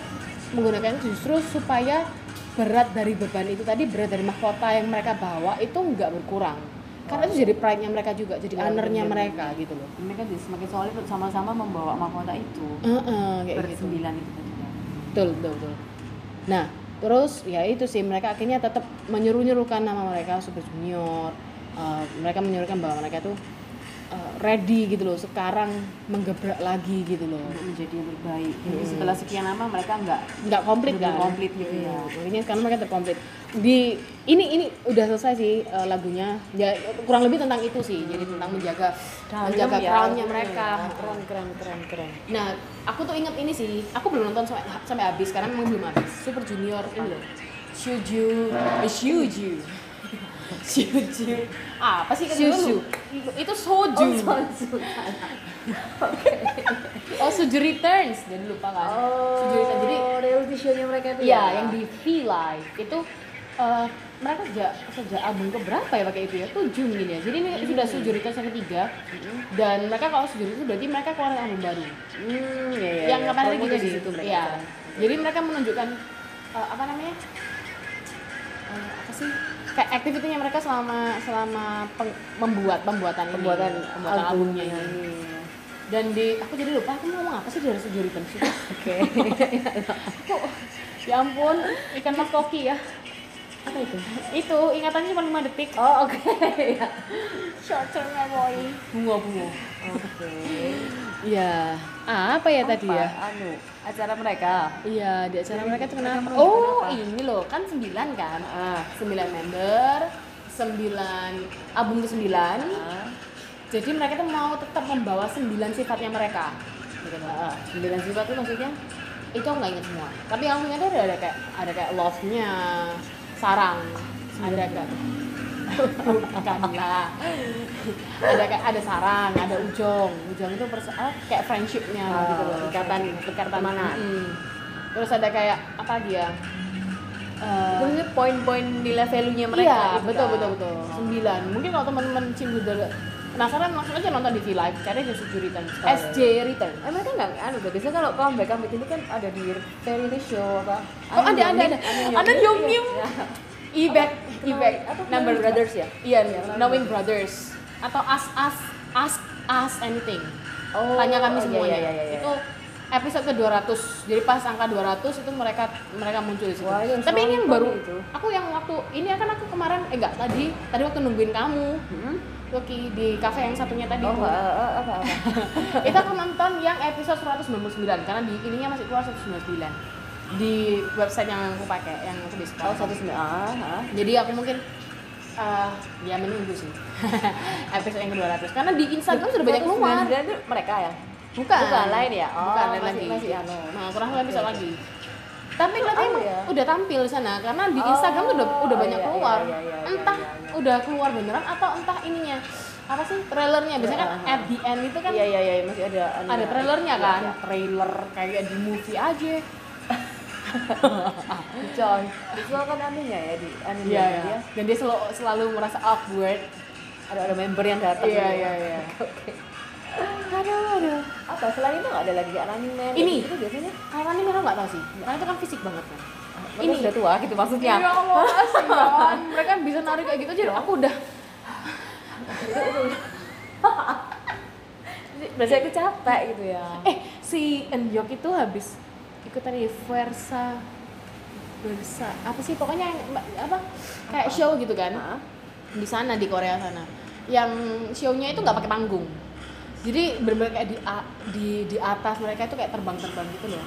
S2: menggunakan itu justru supaya berat dari beban itu tadi, berat dari mahkota yang mereka bawa itu nggak berkurang. Karena itu jadi pride-nya mereka juga, jadi honor-nya mereka gitu loh.
S3: Mereka jadi kan ya, semakin solid sama-sama membawa mahkota itu.
S2: Heeh, kayak gitu. Hmm.
S3: Bersembilan itu tadi. kan.
S2: Betul, betul, betul. Nah, terus ya itu sih mereka akhirnya tetap menyuruh-nyuruhkan nama mereka Super Junior. Uh, mereka menyuruhkan bahwa mereka tuh uh, ready gitu loh, sekarang menggebrak lagi gitu loh.
S3: Untuk menjadi yang terbaik. Jadi
S2: Hmm.
S3: setelah sekian lama mereka nggak
S2: Nggak komplit
S3: Belum
S2: kan?
S3: komplit gitu ya.
S2: Iya, Makanya sekarang mereka terkomplit. Di ini ini udah selesai sih uh, lagunya. Ya kurang lebih tentang itu sih. Jadi tentang menjaga
S3: Dalam
S2: menjaga
S3: ya,
S2: crown-nya
S3: iya.
S2: mereka.
S1: Keren, keren, keren, keren.
S2: Nah, aku tuh inget ini sih. Aku belum nonton sampai, sampai habis karena memang belum habis. Super Junior ini loh. Shuju, eh, Shuju. Shuju. apa sih kan
S3: Shuju.
S2: dulu? Itu Soju. Oh, Soju Returns. Dan lupa kan. Soju Returns. Jadi
S1: reality show-nya mereka itu
S2: Iya, yang di V Live itu eh, mereka sejak sejak album ke berapa ya pakai itu ya? 7 mungkin ya. Jadi ini sudah sujud itu yang ketiga. Dan mereka kalau sujud itu berarti mereka keluarin album baru.
S1: Hmm, ya, ya,
S2: yang
S1: ya.
S2: kemarin
S1: Promo
S2: gitu
S1: tuh
S2: di
S1: situ mereka.
S2: Iya. Jadi mereka menunjukkan eh, apa namanya? Eh, apa sih? Kayak aktivitinya mereka selama selama peng- membuat pembuatan,
S1: Pembuatan
S2: ini, pembuatan albumnya ini. Dan di aku jadi lupa aku mau ngomong apa sih dari sujud itu.
S1: Oke.
S2: Aku, ya ampun, ikan mas koki ya.
S1: Apa itu?
S2: Itu ingatannya cuma 5 detik.
S1: Oh, oke.
S2: Short term memory.
S3: bunga-bunga.
S1: Oke.
S2: Iya. apa ya tadi ya?
S3: Apa? Anu, acara mereka.
S2: Iya, di acara mereka tuh kenapa?
S3: menunjukkan
S2: Oh,
S3: apa?
S2: ini loh, kan 9 kan? 9 member, 9 album ke-9. Ah. Jadi mereka tuh mau tetap membawa 9 sifatnya mereka. Gitu loh. 9 sifat tuh maksudnya itu aku nggak ingat semua. Tapi yang aku ingat tuh ada, ada kayak ada kayak love-nya, sarang, ada kayak bukan lah ada kayak ada sarang ada ujung ujung itu persa- ah, kayak friendshipnya gitu loh ikatan ikatan mana terus ada kayak apa dia
S1: Itu
S2: Eh,
S1: maksudnya poin-poin nilai value-nya mereka.
S2: iya
S1: gitu
S2: betul
S1: kan?
S2: betul betul sembilan mungkin kalau teman-teman cimbu penasaran langsung aja nonton di V Live cari aja Suju Return SJ Return
S1: Eh, mereka nggak anu tuh. Biasanya kalau comeback comeback itu kan ada di reality show apa?
S2: Oh,
S1: Anu
S2: ada,
S1: Yong
S2: ada,
S1: Nim,
S2: ada.
S1: Anu
S2: Ada Yong
S1: Iya,
S2: Nim.
S1: iya.
S2: Ibek
S1: Knowing-
S2: Ibek
S1: apa,
S2: number
S1: Knowing
S2: brothers
S1: Brothers ya?
S2: iya Knowing Brothers atau Ask Us Ask Us Anything
S1: Oh,
S2: tanya kami
S1: iya,
S2: semuanya
S1: iya, iya, iya.
S2: itu episode ke 200 jadi pas angka 200 itu mereka mereka muncul di situ
S1: Wah, itu
S2: tapi ini yang
S1: nonton
S2: baru
S1: itu.
S2: aku yang waktu ini kan aku kemarin eh enggak tadi tadi waktu nungguin kamu Loki di kafe yang satunya tadi
S1: Hmm? Oh,
S2: itu.
S1: nggak, eh, eh, apa apa.
S2: itu aku nonton yang episode 199 karena di ininya masih keluar 199 di website yang aku pakai yang aku di
S1: Oh,
S2: sekolah
S1: satu sembilan. Ah, ah.
S2: jadi aku mungkin eh ya menunggu sih episode yang ke-200 karena di Instagram sudah banyak
S1: 199
S2: keluar
S1: itu mereka ya?
S2: bukan
S1: Bukan, lain ya? Oh,
S2: bukan lain
S1: masih-
S2: lagi
S1: masih anu.
S2: nah kurang lebih episode lagi tapi katanya
S3: Oh,
S2: emang
S3: iya.
S2: udah tampil di sana karena di
S3: Oh,
S2: Instagram tuh udah udah
S3: iya,
S2: banyak
S3: iya,
S2: keluar
S3: iya, iya, iya,
S2: entah
S3: iya, iya.
S2: udah keluar beneran atau entah ininya apa sih trailernya biasanya kan
S3: Iya,
S2: at the end itu kan
S3: Iya iya iya masih ada
S2: ada trailernya kan
S3: Iya,
S2: trailer kayak di movie aja
S3: iya. Coy. Visual kan anunya ya di
S1: anu
S3: anunya
S2: iya
S3: dia.
S2: iya dan dia selalu selalu merasa awkward
S3: Ada ada member yang datang.
S2: Iya,
S3: gitu.
S2: iya, iya.
S3: Oke.
S2: aduh aduh
S3: Apa selain itu nggak ada lagi kayak Running Man?
S2: Ini.
S3: itu biasanya
S2: kayak Rani Mero nggak tau sih karena itu kan fisik banget kan
S3: ini sudah tua gitu maksudnya.
S2: Ya Allah, kasihan. Mereka bisa narik kayak gitu aja dong. Aku udah
S3: Biasanya aku capek gitu ya.
S2: eh si Enyok itu habis ikutan di Versa Versa apa sih pokoknya yang- apa kayak show gitu kan
S3: Hah?
S2: di sana di Korea sana yang show-nya itu nggak pakai panggung jadi bener-bener kayak di, a- di di atas mereka itu kayak terbang-terbang gitu loh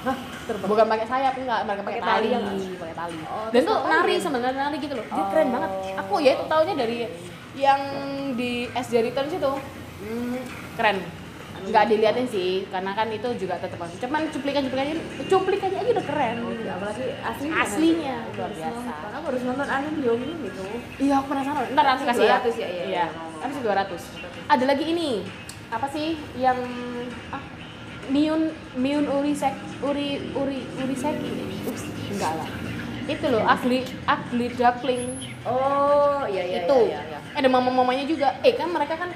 S2: terbang. bukan pakai sayap enggak mereka pakai
S3: Pakai tali
S2: tali
S3: ya nggak?
S2: pakai tali
S3: Oh,
S2: dan
S3: terus
S2: tuh
S3: ngapain?
S2: nari sebenarnya nari gitu loh dia keren banget
S3: Oh.
S2: aku ya itu taunya dari yang di SD Returns itu Hmm. keren nggak diliatin sih karena kan itu juga tetap cuman cuplikan cuplikannya cuplikannya aja udah keren
S3: Apalagi aslinya.
S2: Iya. Aslinya.
S3: luar biasa. Aku harus nonton anime di ini gitu.
S2: Iya, aku penasaran. Ntar aku kasih ya.
S3: 200 ya, iya, iya.
S2: Habis 200. Ada lagi ini. Apa sih yang ah, Miun Miun Urisek Uri Uri Uriseki. Ups, enggak lah. Itu loh, Ugly Ugly Duckling.
S3: Oh iya iya
S2: itu.
S3: iya, iya.
S2: Ada mama-mamanya juga. Eh, kan mereka kan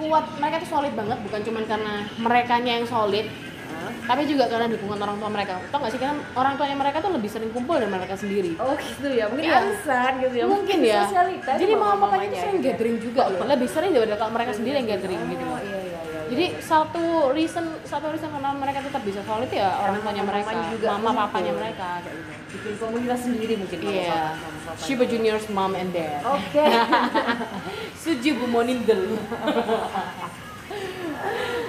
S2: kuat. Mereka tuh solid banget, bukan cuman karena merekanya yang solid,
S3: Hah?
S2: tapi juga karena dukungan orang tua mereka. Tau gak sih, karena orang tuanya mereka tuh lebih sering kumpul dari mereka sendiri.
S3: Oh gitu ya, mungkin
S2: Iya.
S3: alasan gitu ya.
S2: mungkin ya
S3: sosialitas
S2: jadi
S3: sama
S2: mama papanya itu
S3: mamanya
S2: sering
S3: gitu ya.
S2: gathering juga loh lebih sering daripada kalau mereka sendiri yang gathering gitu
S3: Oh
S2: loh
S3: iya iya iya.
S2: jadi satu reason satu reason kenapa mereka tetap bisa solid ya orang tuanya mereka
S3: mamanya juga
S2: mama
S3: gitu.
S2: papanya mereka kayak gitu
S3: bikin komunitas sendiri mungkin mama
S2: iya
S3: papa- mama papanya.
S2: Shiba Junior's mom and dad
S3: Oke.
S2: Suji Bumonindel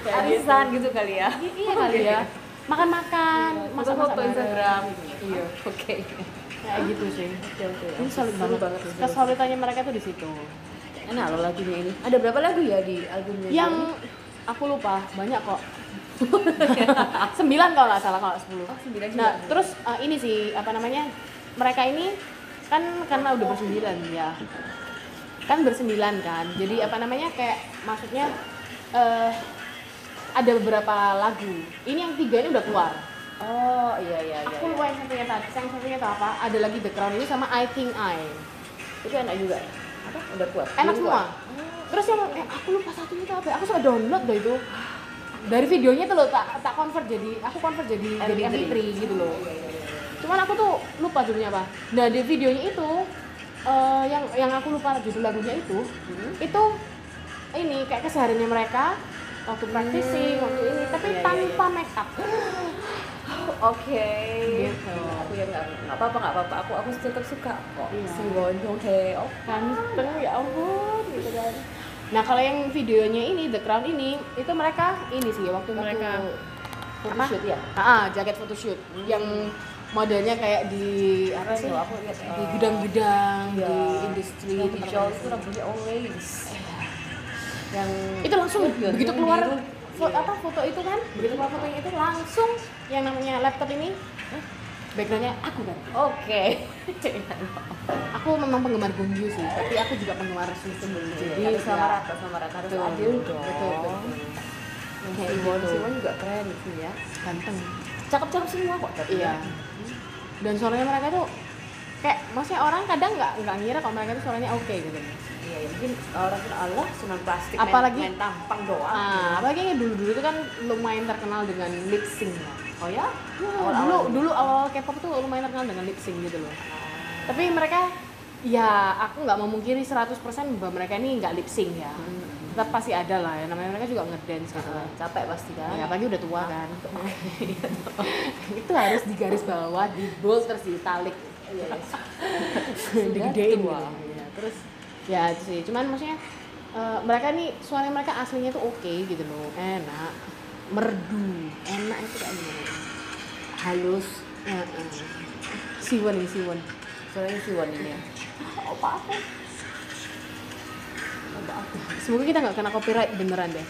S3: Arisan gitu kali ya. Iya,
S2: iya kali ya makan-makan
S3: Foto-foto
S2: bareng.
S3: Instagram.
S2: iya
S3: Oke.
S2: kayak gitu sih
S3: Oke oke.
S2: ini solid banget,
S3: Seru banget. sih, seru.
S2: kesolidannya mereka tuh di situ
S3: Enak loh lagunya ini. Ada berapa lagu ya di albumnya?
S2: Iya, yang aku lupa banyak kok sembilan kalau nggak salah kalau nggak sepuluh
S3: Oh, sembilan
S2: nah
S3: juga.
S2: terus eh, ini sih apa namanya mereka ini kan karena udah bersembilan ya kan bersembilan kan jadi apa namanya kayak maksudnya eh ada beberapa lagu ini yang tiga ini udah keluar
S3: Oh iya iya iya.
S2: aku lupa yang satunya tadi yang satunya itu apa ada lagi The Crown ini sama I Think I
S3: Itu enak juga. Apa? Udah kuat.
S2: enak
S3: Belum
S2: semua
S3: kuat.
S2: terus yang eh, aku lupa satunya itu apa ya? aku suka download loh itu dari videonya tuh loh tak tak convert jadi aku convert jadi jadi MP3 gitu loh
S3: Iya,
S2: cuman aku tuh lupa judulnya apa nah di videonya itu eh, yang yang aku lupa judul lagunya itu
S3: Hmm.
S2: itu ini kayak kesehariannya mereka waktu praktisi waktu ini tapi
S3: Iya, iya,
S2: tanpa make up
S3: Oke.
S2: Gitu.
S3: Aku ya nggak nggak apa-apa nggak apa-apa. Aku aku tetap suka kok.
S2: Iya.
S3: Sungguh deh. Oh.
S2: ganteng ya ampun
S3: Gitu kan.
S2: nah kalau yang videonya ini The Crown ini itu mereka ini sih waktu mereka
S3: Foto
S2: Apa?
S3: shoot ya.
S2: Ah, jaket photoshoot yang modelnya kayak di apa
S3: Keren
S2: sih? Iya.
S3: loh, aku lihat
S2: Di gudang-gudang, di industri
S3: yang Iya, di
S2: tempat-tempat
S3: Jawa itu
S2: industri.
S3: rambutnya always yang
S2: Itu langsung
S3: Yang
S2: begitu
S3: biru,
S2: keluar
S3: biru.
S2: fo-
S3: Iya.
S2: apa foto itu kan, begitu keluar fotonya itu langsung yang namanya laptop ini eh, backgroundnya aku kan.
S3: oke
S2: Aku memang penggemar Gongyu sih, tapi aku juga penggemar Susun Jadi
S3: jadi
S2: ya,
S3: sama rata sama rata harus
S2: Betul.
S3: adil
S2: Betul,
S3: Iya. dong
S2: betul.
S3: Yang
S2: Kayak
S3: Siwon
S2: gitu.
S3: Siwon Iya. juga keren sih ya
S2: ganteng.
S3: cakep-cakep semua kok tapi
S2: Iya. Dan suaranya mereka tuh kayak maksudnya orang kadang nggak nggak ngira kalau mereka tuh suaranya oke gitu.
S3: iya ya, mungkin orang kan Allah sunan plastik
S2: Apalagi-
S3: main, main tampang doang
S2: Ah, apalagi yang dulu-dulu itu kan lumayan terkenal dengan lip sync lah.
S3: oh ya
S2: dulu dulu awal K-pop tuh lumayan terkenal dengan lip sync gitu loh. Tapi mereka ya aku nggak memungkiri 100% bahwa mereka ini nggak lip sync ya. Tetap pasti ada lah ya namanya mereka juga ngedance gitu kan.
S3: capek pasti kan
S2: Ya, apalagi udah tua kan. itu harus digaris bawah, di bold terus ditalik,
S3: Iya, iya.
S2: digedein
S3: tua.
S2: gitu. Ya, terus ya itu sih. Cuman maksudnya eh, mereka nih suara mereka aslinya tuh oke gitu loh. Enak, merdu, enak itu kayak gimana?
S3: halus
S2: Ya, eh. Siwon nih Siwon.
S3: suaranya Siwon ini ya apa apa apa apa
S2: Semoga kita nggak kena copyright beneran deh.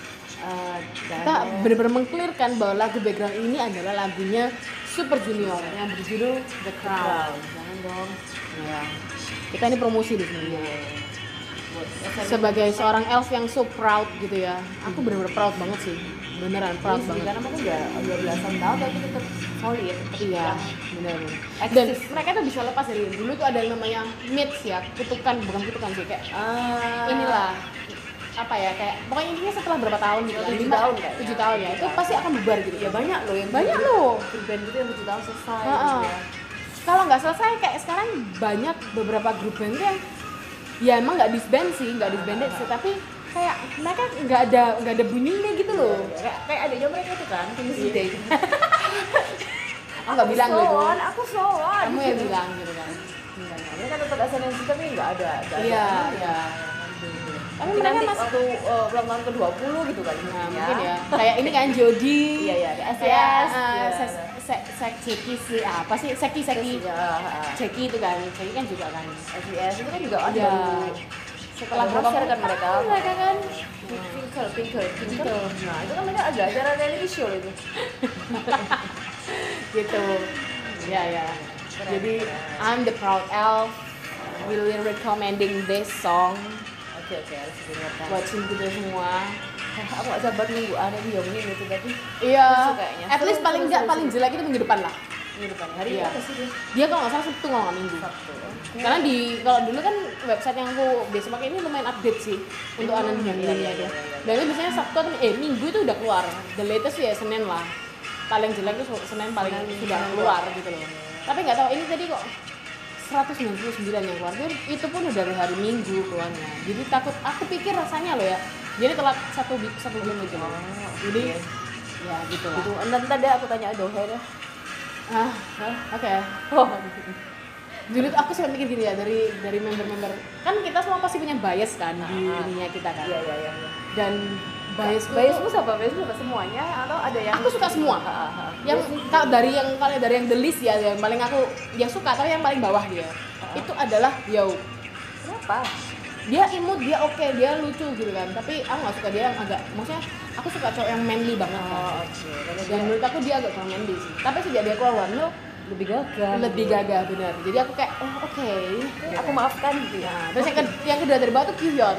S3: Eh,
S2: Kita
S3: jangan.
S2: bener-bener mengklirkan bahwa lagu background ini adalah lagunya Super Junior
S3: yang berjudul
S2: The Crown. Jangan dong. Kita ini promosi di sini. Sebagai seorang elf yang so proud gitu ya. Aku benar-benar proud banget sih. Beneran proud banget.
S3: karena mereka udah udah belasan tahun tapi tetap solid tetap
S2: Iya,
S3: yang
S2: benar-benar.
S3: eksis.
S2: Dan mereka tuh bisa lepas dari dulu tuh ada yang namanya myths ya, kutukan bukan kutukan sih kayak
S3: Ah,
S2: inilah apa ya kayak pokoknya intinya setelah berapa tahun gitu
S3: Tujuh
S2: lima-
S3: tahun kayaknya.
S2: tujuh tahun ya itu
S3: Iya.
S2: pasti akan bubar gitu
S3: ya banyak loh yang
S2: banyak loh
S3: band itu yang tujuh tahun selesai
S2: Heeh.
S3: gitu ya.
S2: Kalau nggak selesai kayak sekarang banyak beberapa grup band tuh yang ya emang nggak disband sih, nggak disbanded sih, tapi kayak mereka nggak ada nggak ada bunyinya gitu loh.
S3: Iya, kayak kayak adiknya mereka tuh kan Timothy Day.
S2: Oh nggak bilang
S3: Aku
S2: gitu.
S3: sowan, aku sowan
S2: Kamu yang bilang gitu kan.
S3: Iya, mereka kan tetap esensi tapi nggak ada nggak ada
S2: Iya,
S3: ini
S2: iya. Tapi
S3: mungkin
S2: mereka
S3: nanti
S2: masih
S3: waktu eh, ulang tahun ke-20 gitu kan
S2: Nah, mungkin ya. Kayak ini kan Jody.
S3: Iya, iya, ada SES,
S2: Kayak
S3: iya.
S2: eh, ses- se- se- Seki sih apa sih? Seki
S3: Terus
S2: Seki. iya.
S3: juga, ah,
S2: Seki itu kan. Seki kan juga kan.
S3: SES itu kan juga ada
S2: Iya.
S3: setelah
S2: Ada
S3: berapa
S2: konser
S3: kan mereka
S2: tahun mereka kan.
S3: Twinkle, twinkle, twinkle nah itu kan mereka ada acara reality show itu
S2: gitu ya ya jadi I'm the proud elf really recommending this song
S3: oke oke harus didengarkan
S2: buat kita semua
S3: Hah, aku gak sabar nunggu ada di yang ini itu tapi
S2: iya
S3: Lucu kayaknya.
S2: at least
S3: Seru,
S2: paling
S3: seru,
S2: nggak
S3: seru,
S2: paling jelek itu minggu depan lah
S3: ini depan hari
S2: Iya.
S3: apa sih dia?
S2: dia kalau nggak salah sabtu kalau nggak minggu
S3: Sabtu oke.
S2: karena di kalau dulu kan website yang aku biasa pakai ini lumayan update sih untuk
S3: Hmm,
S2: anak
S3: iya,
S2: yang
S3: iya, iya,
S2: ada
S3: iya.
S2: dan itu biasanya sabtu atau- eh minggu itu udah keluar the latest ya senin lah paling jelek itu senin paling
S3: Senin,
S2: sudah
S3: Senin
S2: keluar gitu loh tapi nggak tahu ini tadi kok 199 yang keluar Dan itu pun udah hari minggu keluarnya jadi takut aku pikir rasanya loh ya jadi telat satu bi- satu bulan gitu
S3: Oh,
S2: loh jadi
S3: oke.
S2: ya gitu lah
S3: gitu entar entar deh aku tanya ya. Dohe deh
S2: ah oke
S3: oh
S2: dulu tuh aku suka mikir gini ya dari dari member-member kan kita semua pasti punya bias kan di
S3: Ah.
S2: dunia kita kan
S3: iya iya iya iya.
S2: dan bias
S3: biasmu
S2: biasku tuh,
S3: siapa biasmu siapa semuanya atau ada yang
S2: aku suka semua
S3: Ah, ah, ah.
S2: yang kalau dari yang kalau dari yang the least ya yang paling aku yang suka tapi yang paling bawah dia itu adalah yo
S3: kenapa
S2: dia imut dia oke dia lucu gitu kan tapi aku nggak suka dia yang agak maksudnya aku suka cowok yang manly banget kan
S3: oh oke Karena
S2: dan
S3: dia
S2: menurut aku dia agak kurang manly sih tapi sejak dia keluar warna
S3: lebih gagah
S2: lebih gagah benar jadi aku kayak oh oke
S3: aku maafkan gitu ya
S2: Nah, terus yang, ke, yang kedua dari bawah tuh Kyuhyun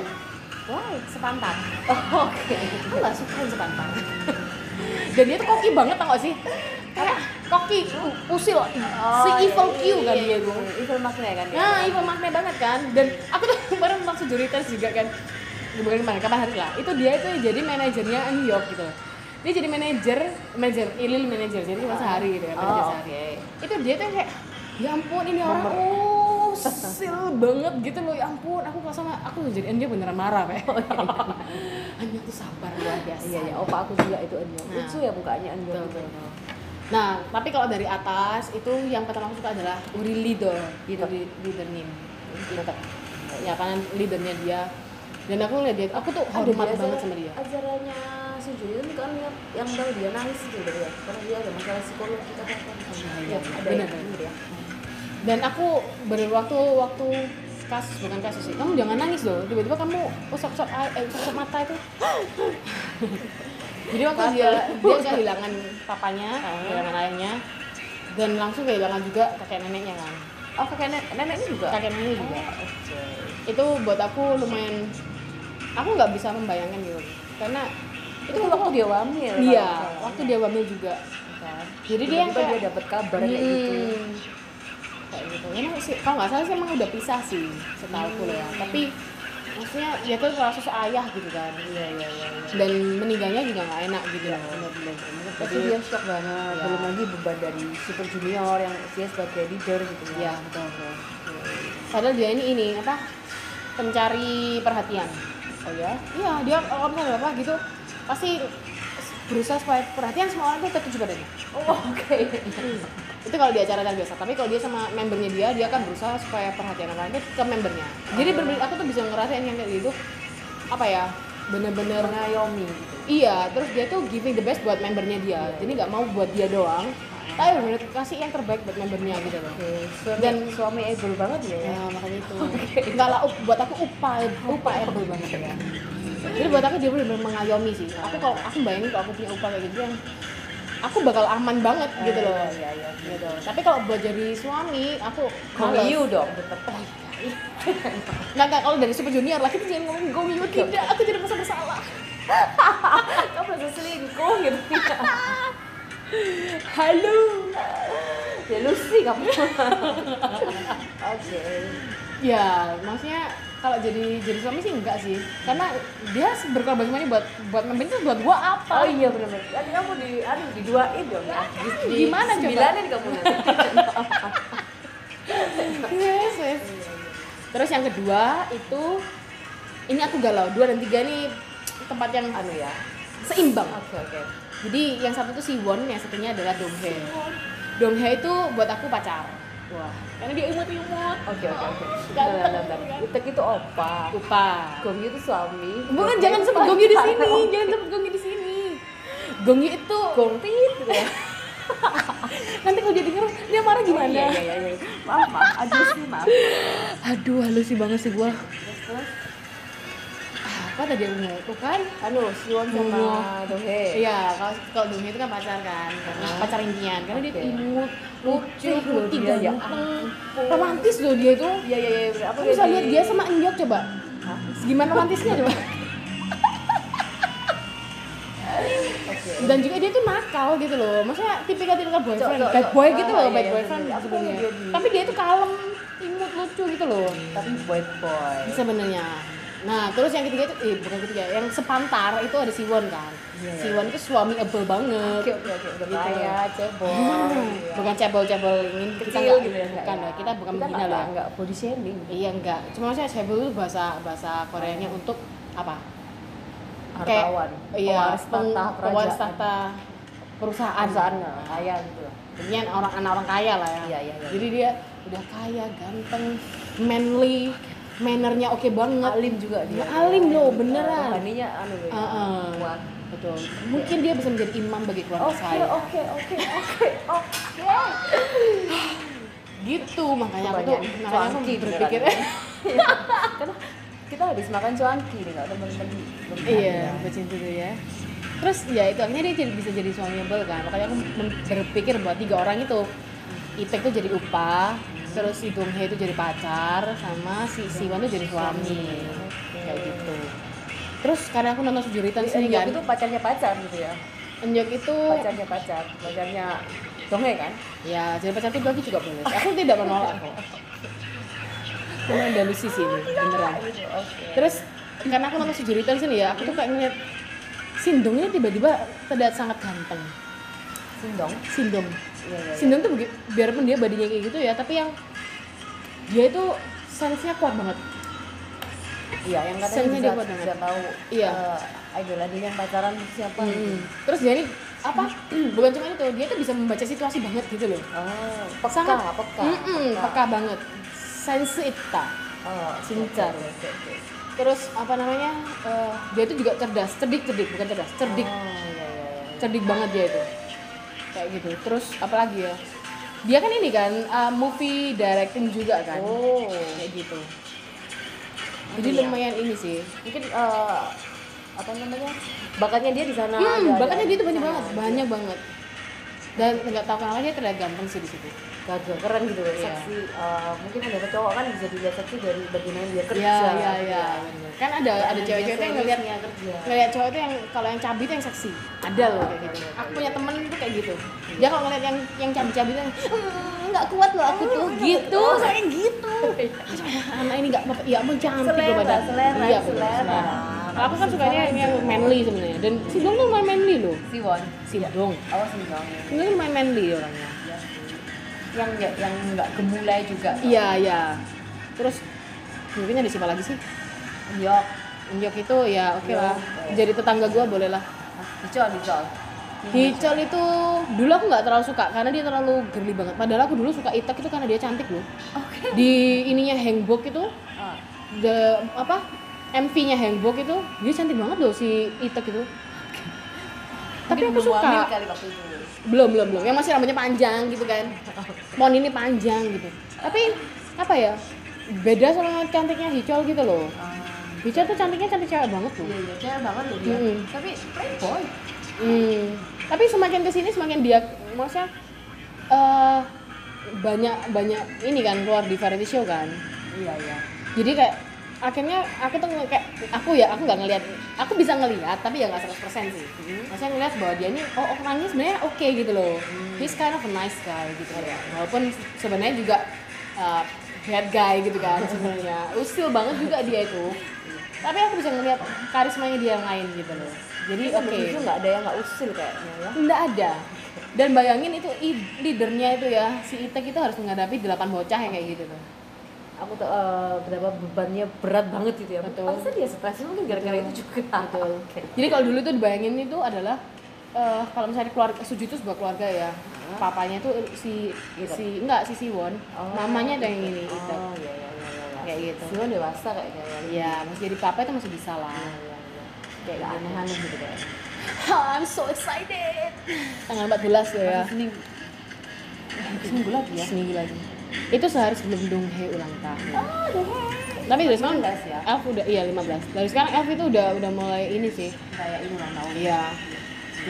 S3: why
S2: sepantan
S3: Oh, oke
S2: aku gak suka yang sepantan dan dia tuh koki banget tau gak sih kayak koki u- usil si
S3: Oh,
S2: evil
S3: iya,
S2: Q kan dia tuh
S3: evil makna kan dia
S2: nah evil makna banget kan dan aku tuh kemarin langsung juri tes juga kan bukan kemarin kapan hari lah itu dia itu jadi manajernya Anyok gitu dia jadi manajer manajer ilil manajer jadi cuma sehari gitu ya manajer
S3: oh
S2: sehari
S3: oke
S2: itu dia tuh yang kayak ya ampun ini orang
S3: Member.
S2: oh usil banget gitu loh ya ampun aku kalau sama aku jadi dia beneran marah kayak hanya tuh sabar luar biasa
S3: iya iya opa aku juga itu Anjo
S2: Nah.
S3: lucu ya mukanya Anjo
S2: Betul,
S3: gitu.
S2: betul. Nah, tapi kalau dari atas itu yang pertama aku suka adalah Uri gitu, Leader,
S3: Leader.
S2: Uri Leader Nim. Ya kan leadernya dia. Dan aku lihat dia, aku tuh
S3: Ada
S2: hormat
S3: biasa
S2: banget sama dia.
S3: acaranya Sujuri itu kan yang- yang tahu dia nangis gitu ya karena dia ada masalah psikologi kan
S4: gitu.
S2: iya.
S3: ya ada
S2: Benar,
S3: yang
S2: benar.
S3: gitu ya
S2: Dan aku bener waktu waktu kasus bukan kasus sih, kamu jangan nangis loh. Tiba-tiba kamu usap-usap air- eh, usap-usap mata itu. Jadi waktu dia dia kehilangan papanya, kehilangan ayahnya, dan langsung kehilangan juga kakek neneknya kan.
S3: oh kakek nenek neneknya juga Oh,
S2: Kakek neneknya juga.
S3: oke
S2: itu buat aku lumayan aku nggak bisa membayangkan gitu karena
S3: itu waktu dia wamil
S2: dia
S3: kalau-
S2: waktu dia wamil juga
S3: kan.
S2: jadi dia yang
S3: Tiba-tiba
S2: kayak
S3: dia dapat kabar kayak gitu
S2: Hmm. kayak gitu emang sih kalau nggak salah sih emang udah pisah sih setahu aku
S3: Hmm.
S2: ya tapi maksudnya dia tuh kasus ayah gitu kan
S3: iya iya iya iya.
S2: dan meninggalnya juga nggak enak gitu loh
S3: Pasti
S2: jadi
S3: dia shock banget,
S2: Iya.
S3: belum lagi beban dari super junior yang dia sebagai leader gitu
S2: ya
S3: ya.
S2: betul betul padahal dia ini ini apa pencari perhatian
S3: Oh ya?
S2: Iya, dia kalau misalnya apa gitu pasti berusaha supaya perhatian semua orang tuh tertuju padanya.
S3: Oh oke.
S2: Itu kalau di acara dan biasa. Tapi kalau dia sama membernya dia, dia akan berusaha supaya perhatian orang itu ke membernya. Jadi
S3: Oh.
S2: bener-bener aku tuh bisa ngerasain yang kayak gitu apa ya? Bener-bener
S3: Mengayomi gitu.
S2: iya. Terus dia tuh giving the best buat membernya dia. Jadi nggak mau buat dia doang, tapi bener-bener kasih yang terbaik buat membernya gitu loh.
S3: Oke. Suami, Dan
S2: Dan-
S3: suami able banget ya.
S2: Ya, makanya itu. Enggak lah, up- buat aku upaya upaya betul banget ya. Jadi buat aku dia benar-benar mengayomi sih. Aku kalau aku bayangin kalau aku punya upaya kayak gitu yang aku bakal aman banget gitu loh.
S4: Iya, iya, iya.
S2: Gitu. Tapi kalau buat jadi suami, aku males.
S4: Komiu dong tetap.
S2: Oh iya. Nah, nggak, kalau dari Super Junior lah, kita jangan ngomongin Gomi Yuk. tidak, aku jadi merasa bersalah.
S4: Kamu merasa selingkuh gitu. Halo. Ya lu sih kamu. Oke.
S2: Ya, maksudnya kalau jadi jadi suami sih enggak sih, karena dia berkorban semuanya buat buat membentuk buat gua
S4: Oh
S2: apa?
S4: iya benar-benar. Kan kamu di aduh diduain dong ya. Di- di-
S2: Gimana coba?
S4: Sembilanin kamu nanti. Iya,
S2: Yes, yes. Terus yang kedua itu ini aku galau dua dan tiga nih tempat yang
S4: Anu ya.
S2: seimbang.
S4: Oke oke.
S2: Jadi yang satu itu Siwon, yang satunya adalah Donghae. Donghae itu buat aku pacar.
S4: Wah.
S2: Karena dia imut-imut.
S4: Oke oke oke.
S2: Ganteng,
S4: Bentar, bentar, bentar.
S2: kan?
S4: Utek itu opa.
S2: Upa.
S4: Gongyu itu suami.
S2: Bukan jangan sebut Gongyu di sini, jangan sebut Gongyu di sini. Gongyu itu Iya.
S4: Gongtit gitu ya.
S2: nanti kalau dia denger dia marah gimana?
S4: Iya iya iya. iya. Maaf maaf. Aduh sih maaf.
S2: Aduh, halus sih banget sih gua. Ah,
S4: Terus terus.
S2: Apa tadi yang mau kan?
S4: Anu Siwon sama
S2: Bungo.
S4: Dohe.
S2: Iya, kalau kalau Donghae itu kan pacar kan, karena pacar impian karena dia
S4: Ah. Oke.
S2: imut,
S4: Lucu
S2: lucu,
S4: loh
S2: putih,
S4: dia, ya
S2: ganteng,
S4: ampun.
S2: romantis loh dia itu.
S4: Iya iya iya. Aku
S2: Kamu bisa lihat dia sama Enjok coba.
S4: Hah?
S2: Gimana romantisnya coba?
S4: Oke.
S2: Dan juga dia tuh nakal gitu loh. Maksudnya tipikal-tipikal boyfriend,
S4: Cok, cok,
S2: bad
S4: cok.
S2: boy gitu
S4: Oh,
S2: loh,
S4: iya,
S2: bad
S4: iya,
S2: boyfriend
S4: bener. Aku
S2: sebenarnya.
S4: lihat dia.
S2: Tapi dia tuh kalem, imut, lucu gitu loh
S4: Tapi boy boy.
S2: sebenarnya. Nah, terus yang ketiga itu eh bukan ketiga, yang sepantar itu ada Siwon kan.
S4: Iya.
S2: Siwon itu suami ebel banget.
S4: Oke iya. oke oke. Udah
S2: Gitu.
S4: kaya cebol.
S2: Hmm,
S4: Iya.
S2: Bukan cebol-cebol ini kita
S4: Kecil
S2: nggak-
S4: gitu ya.
S2: bukan lah, kita bukan menghina
S4: nggak-
S2: lah.
S4: nggak body shaming.
S2: Iya enggak, cuma maksudnya cebol itu bahasa bahasa Koreanya untuk apa? Kayak-
S4: Hartawan.
S2: iya,
S4: Pewaris tahta
S2: peng-
S4: kerajaan.
S2: pewaris tahta perusahaan.
S4: Perusahaan lah, kaya gitu. lah.
S2: Intinya orang anak orang kaya lah ya.
S4: Iya, iya, iya.
S2: Jadi dia udah kaya, ganteng, manly, mannernya oke banget.
S4: Alim juga dia.
S2: Ya, alim loh, beneran.
S4: Rohaninya anu ya.
S2: Heeh.
S4: Kuat.
S2: Betul. Mungkin dia bisa menjadi imam bagi keluarga
S4: Oke
S2: saya.
S4: oke oke oke oke.
S2: Gitu makanya aku tuh
S4: Banyak
S2: makanya aku
S4: cuanki
S2: berpikir
S4: beneran. Karena kita habis makan cuanki nih nggak teman-teman.
S2: iya, bacin dulu ya. Terus ya itu akhirnya dia jadi, bisa jadi suami yang bel kan. Makanya aku mem- berpikir bahwa tiga orang itu Itek tuh jadi upah, terus si Donghae itu jadi pacar, sama si Siwan tuh jadi suami. Kayak gitu. Terus karena aku nonton sejuritan sini
S4: Enjok
S2: kan.
S4: itu pacarnya pacar gitu ya.
S2: Enjok itu
S4: Pacarnya pacar, pacarnya donge kan?
S2: ya jadi pacar tuh lagi juga boleh. Aku tidak menolak kok. Cuma Andalusi sih ini, beneran.
S4: Gitu, Oke.
S2: Terus karena aku nonton Sujuritan sini ya, aku tuh kayak ngeliat Sindongnya tiba-tiba terlihat sangat ganteng.
S4: Sindong.
S2: Sindong.
S4: Iya iya.
S2: Sindong tuh begi- biarpun dia badinya kayak gitu ya, tapi yang dia itu sense-nya kuat banget.
S4: Iya, yang katanya
S2: Sense-nya
S4: bisa,
S2: dia kuat
S4: bisa
S2: banget.
S4: tahu
S2: Iya.
S4: eh, idol idolnya yang pacaran siapa gitu.
S2: Hmm. Terus dia ini apa? Bukan cuma itu, dia tuh bisa membaca situasi banget gitu loh.
S4: Oh, peka,
S2: sangat
S4: peka.
S2: Mm-mm, peka banget. Sense ita.
S4: Oh,
S2: Sincar.
S4: oke, oke, oke.
S2: Terus apa namanya? eh, dia tuh juga cerdas, cerdik cerdik bukan cerdas, cerdik.
S4: Oh, iya, iya, iya.
S2: cerdik banget dia itu kayak gitu terus apalagi ya dia kan ini kan uh, movie directing juga kan
S4: Oh.
S2: kayak gitu jadi
S4: Iya.
S2: lumayan ini sih
S4: Mungkin eh, apa namanya? Bakatnya dia di sana.
S2: hmm,
S4: Nah, ada- Nah,
S2: bakatnya
S4: ada
S2: dia itu
S4: di
S2: banyak
S4: sana.
S2: banget banyak banget dan nggak tahu kenapa dia terlihat ganteng sih di situ
S4: Gagah, keren gitu loh,
S2: Iya.
S4: seksi. Eh, mungkin ada cowok kan bisa dilihat seksi dari bagaimana dia kerja.
S2: iya iya
S4: gitu
S2: iya bener. kan ada ada
S4: Dia
S2: cewek-cewek tuh yang ngeliat
S4: seriusnya kerja.
S2: ngeliat cowok itu yang kalau yang cabi itu yang seksi ada loh kayak gitu
S4: Iya, iya,
S2: aku punya temen tuh kayak gitu dia kalau ngeliat yang yang cabi-cabi itu yang "Mm, nggak kuat loh aku tuh gitu
S4: Oh.
S2: saya gitu anak ini nggak apa ya ampun cantik
S4: Selera,
S2: loh badan
S4: selera,
S2: iya, bener,
S4: selera. Nah,
S2: Kalau aku kan sukanya yang yang manly sebenarnya dan si dong tuh main manly loh
S4: Siwon.
S2: si dong
S4: Oh, Sindong.
S2: ini kan main manly dia orangnya
S4: Iya, sih. Yang nggak yang nggak gemulai juga.
S2: iya iya terus mungkin ada siapa lagi sih
S4: Yok.
S2: Unjuk itu ya oke
S4: Iya,
S2: lah
S4: oke.
S2: jadi tetangga gua boleh lah
S4: Dicol, dicol.
S2: Hicol itu dulu aku nggak terlalu suka karena dia terlalu girly banget. Padahal aku dulu suka Itek itu karena dia cantik loh. Di ininya Hangbok itu,
S4: Ah.
S2: the apa MV-nya Hangbok itu dia cantik banget loh si Itek itu. Tapi
S4: Mungkin
S2: aku
S4: belum
S2: suka.
S4: hamil
S3: kan?
S4: kali waktu itu.
S2: Belum belum belum. Yang masih rambutnya panjang gitu kan. Mon ini panjang gitu. Tapi apa ya? Beda sama cantiknya Hicol gitu loh.
S4: Ah.
S2: Hicol tuh cantiknya cantik cewek banget loh.
S4: Iya, iya, cewek banget loh dia.
S2: Mm-mm.
S4: Tapi playboy.
S2: Hmm. Tapi semakin kesini semakin dia maksudnya eh, banyak banyak ini kan keluar di variety show kan.
S3: iya iya
S2: Jadi kayak akhirnya aku tuh nge- kayak aku ya aku nggak ngelihat aku bisa ngelihat tapi ya nggak 100% sih
S3: Hmm.
S2: maksudnya ngelihat bahwa dia ini oh orangnya sebenarnya oke gitu loh
S3: Hmm.
S2: he's kind of a nice guy gitu
S3: Iya.
S2: ya walaupun sebenarnya juga uh, bad guy gitu kan sebenarnya usil banget juga dia itu tapi aku bisa ngelihat karismanya dia yang lain gitu loh jadi oke
S4: itu nggak ada yang nggak usil kayaknya ya
S2: Nggak ada. Dan bayangin itu i- leadernya itu ya, si Itek itu harus menghadapi 8 bocah yang kayak gitu tuh.
S4: aku tuh eh, berapa bebannya berat banget gitu ya
S2: Betul.
S4: Pantesan dia stres mungkin gara-gara itu juga
S2: Betul.
S4: Oke.
S2: Jadi kalau dulu tuh dibayangin itu adalah eh, kalau misalnya keluarga Suju itu sebuah keluarga ya. Papanya tuh si si enggak si Siwon, mamanya ada yang ini Itek.
S4: oh iya iya iya iya, iya
S2: Kayak gitu.
S4: Siwon dewasa kayaknya ya
S2: Iya, masih jadi papa itu masih bisa lah.
S4: iya iya kayak gak aneh-aneh gitu kayaknya
S2: I'm so excited. kan. Tanggal 14 tuh ya.
S3: seminggu seminggu lagi ya
S2: Seminggu lagi. Itu sehari sebelum Dong Hae ulang tahun. Tapi dari sekarang
S3: 15 ya?
S2: Elf udah iya 15. Dari sekarang Elf itu udah udah mulai ini sih.
S3: kayak ini ulang tahun
S2: Iya.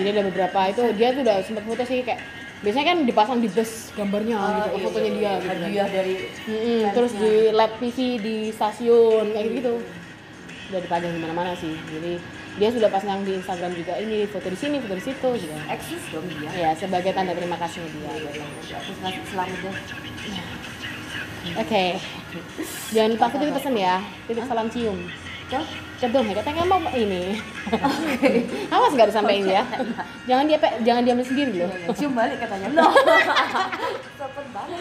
S2: Jadi ada beberapa itu dia tuh udah sempet foto sih kayak biasanya kan dipasang di bus gambarnya
S3: Ah,
S2: gitu, fotonya dia gitu. kan.
S3: iya, hadiah dari
S2: Mm-mm, terus di lab TV di stasiun kayak gitu. Udah dipajang di mana-mana sih. Jadi dia sudah pasang di Instagram juga ini foto di sini, foto di situ juga.
S3: eksis dong dia
S2: Ya, sebagai tanda terima kasihnya dia. gitu.
S3: aku selamat selamat deh
S2: Oke. Jangan lupa aku titip pesan ya. Titip salam cium. Ke? Ke dong, ya, katanya mau ini. Awas nggak disampaikan ya. Jangan dia pe- jangan diam sendiri loh.
S3: Iya, iya. cium balik katanya no cepet banget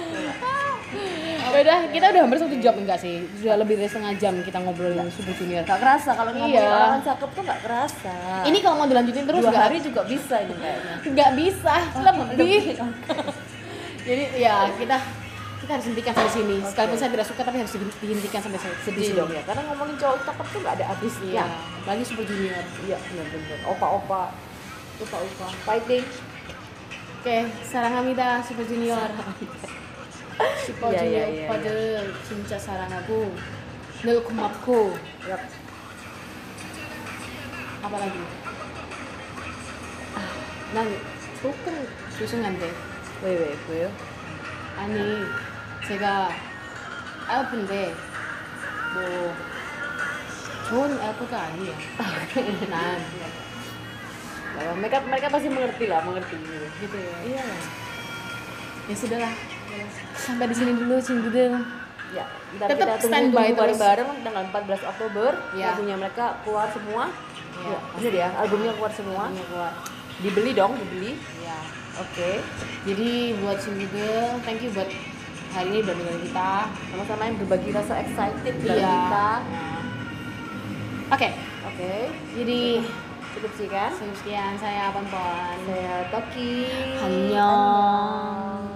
S2: Ya udah, kita udah hampir satu jam enggak sih? Sudah lebih dari setengah jam kita
S4: Iya.
S2: ngobrolin Super Junior.
S4: gak kerasa kalau ngomongin
S2: Iya.
S4: orang cakep tuh gak kerasa
S2: Ini kalau mau dilanjutin terus
S4: dua
S2: nggak
S4: hari Oh, juga bisa ini kayaknya
S2: nggak bisa lebih. Jadi ya kita kita harus hentikan sampai sini. Sekalipun saya tidak suka tapi harus di- dihentikan sampai se- di
S4: sedih
S2: sini.
S4: dong ya karena ngomongin cowok cakep tuh gak ada habisnya
S2: Iya, lagi Super Junior.
S4: iya bener-bener opa-opa opa-opa fighting
S2: Oke, sarangamida Super Junior. Super
S4: Iya, iya,
S2: Junior
S4: iya,
S2: pada cinta sarang aku. Nel kumapku.
S4: Yap.
S2: Apa lagi? Ah, Nang, bukan susungan deh.
S4: wewe gue
S2: 아니 제가 엘프인데 뭐 좋은 엘프가 아니에요. 난
S4: mereka mereka pasti mengerti lah mengerti gitu
S2: gitu ya. Ya sudah lah. Sampai di sini dulu Cinggudeul.
S4: ya ntar
S2: Tetap
S4: kita tunggu
S2: standby
S4: tunggu
S2: terus.
S4: bareng tanggal 14 Oktober
S2: Ya.
S4: lagunya mereka keluar semua
S2: Ya,
S4: ya, bener ya albumnya keluar semua
S2: Ini keluar.
S4: dibeli dong dibeli
S2: Ya.
S4: oke
S2: Jadi buat Cinggudeul, thank you buat hari ini udah dengerin kita.
S4: sama-sama yang berbagi rasa excited
S2: Iya.
S4: bareng kita
S2: Oke,
S4: oke
S2: jadi
S4: cukup sih kan
S2: sekian saya Pompon.
S4: saya Eh, Toki
S2: Annyeong.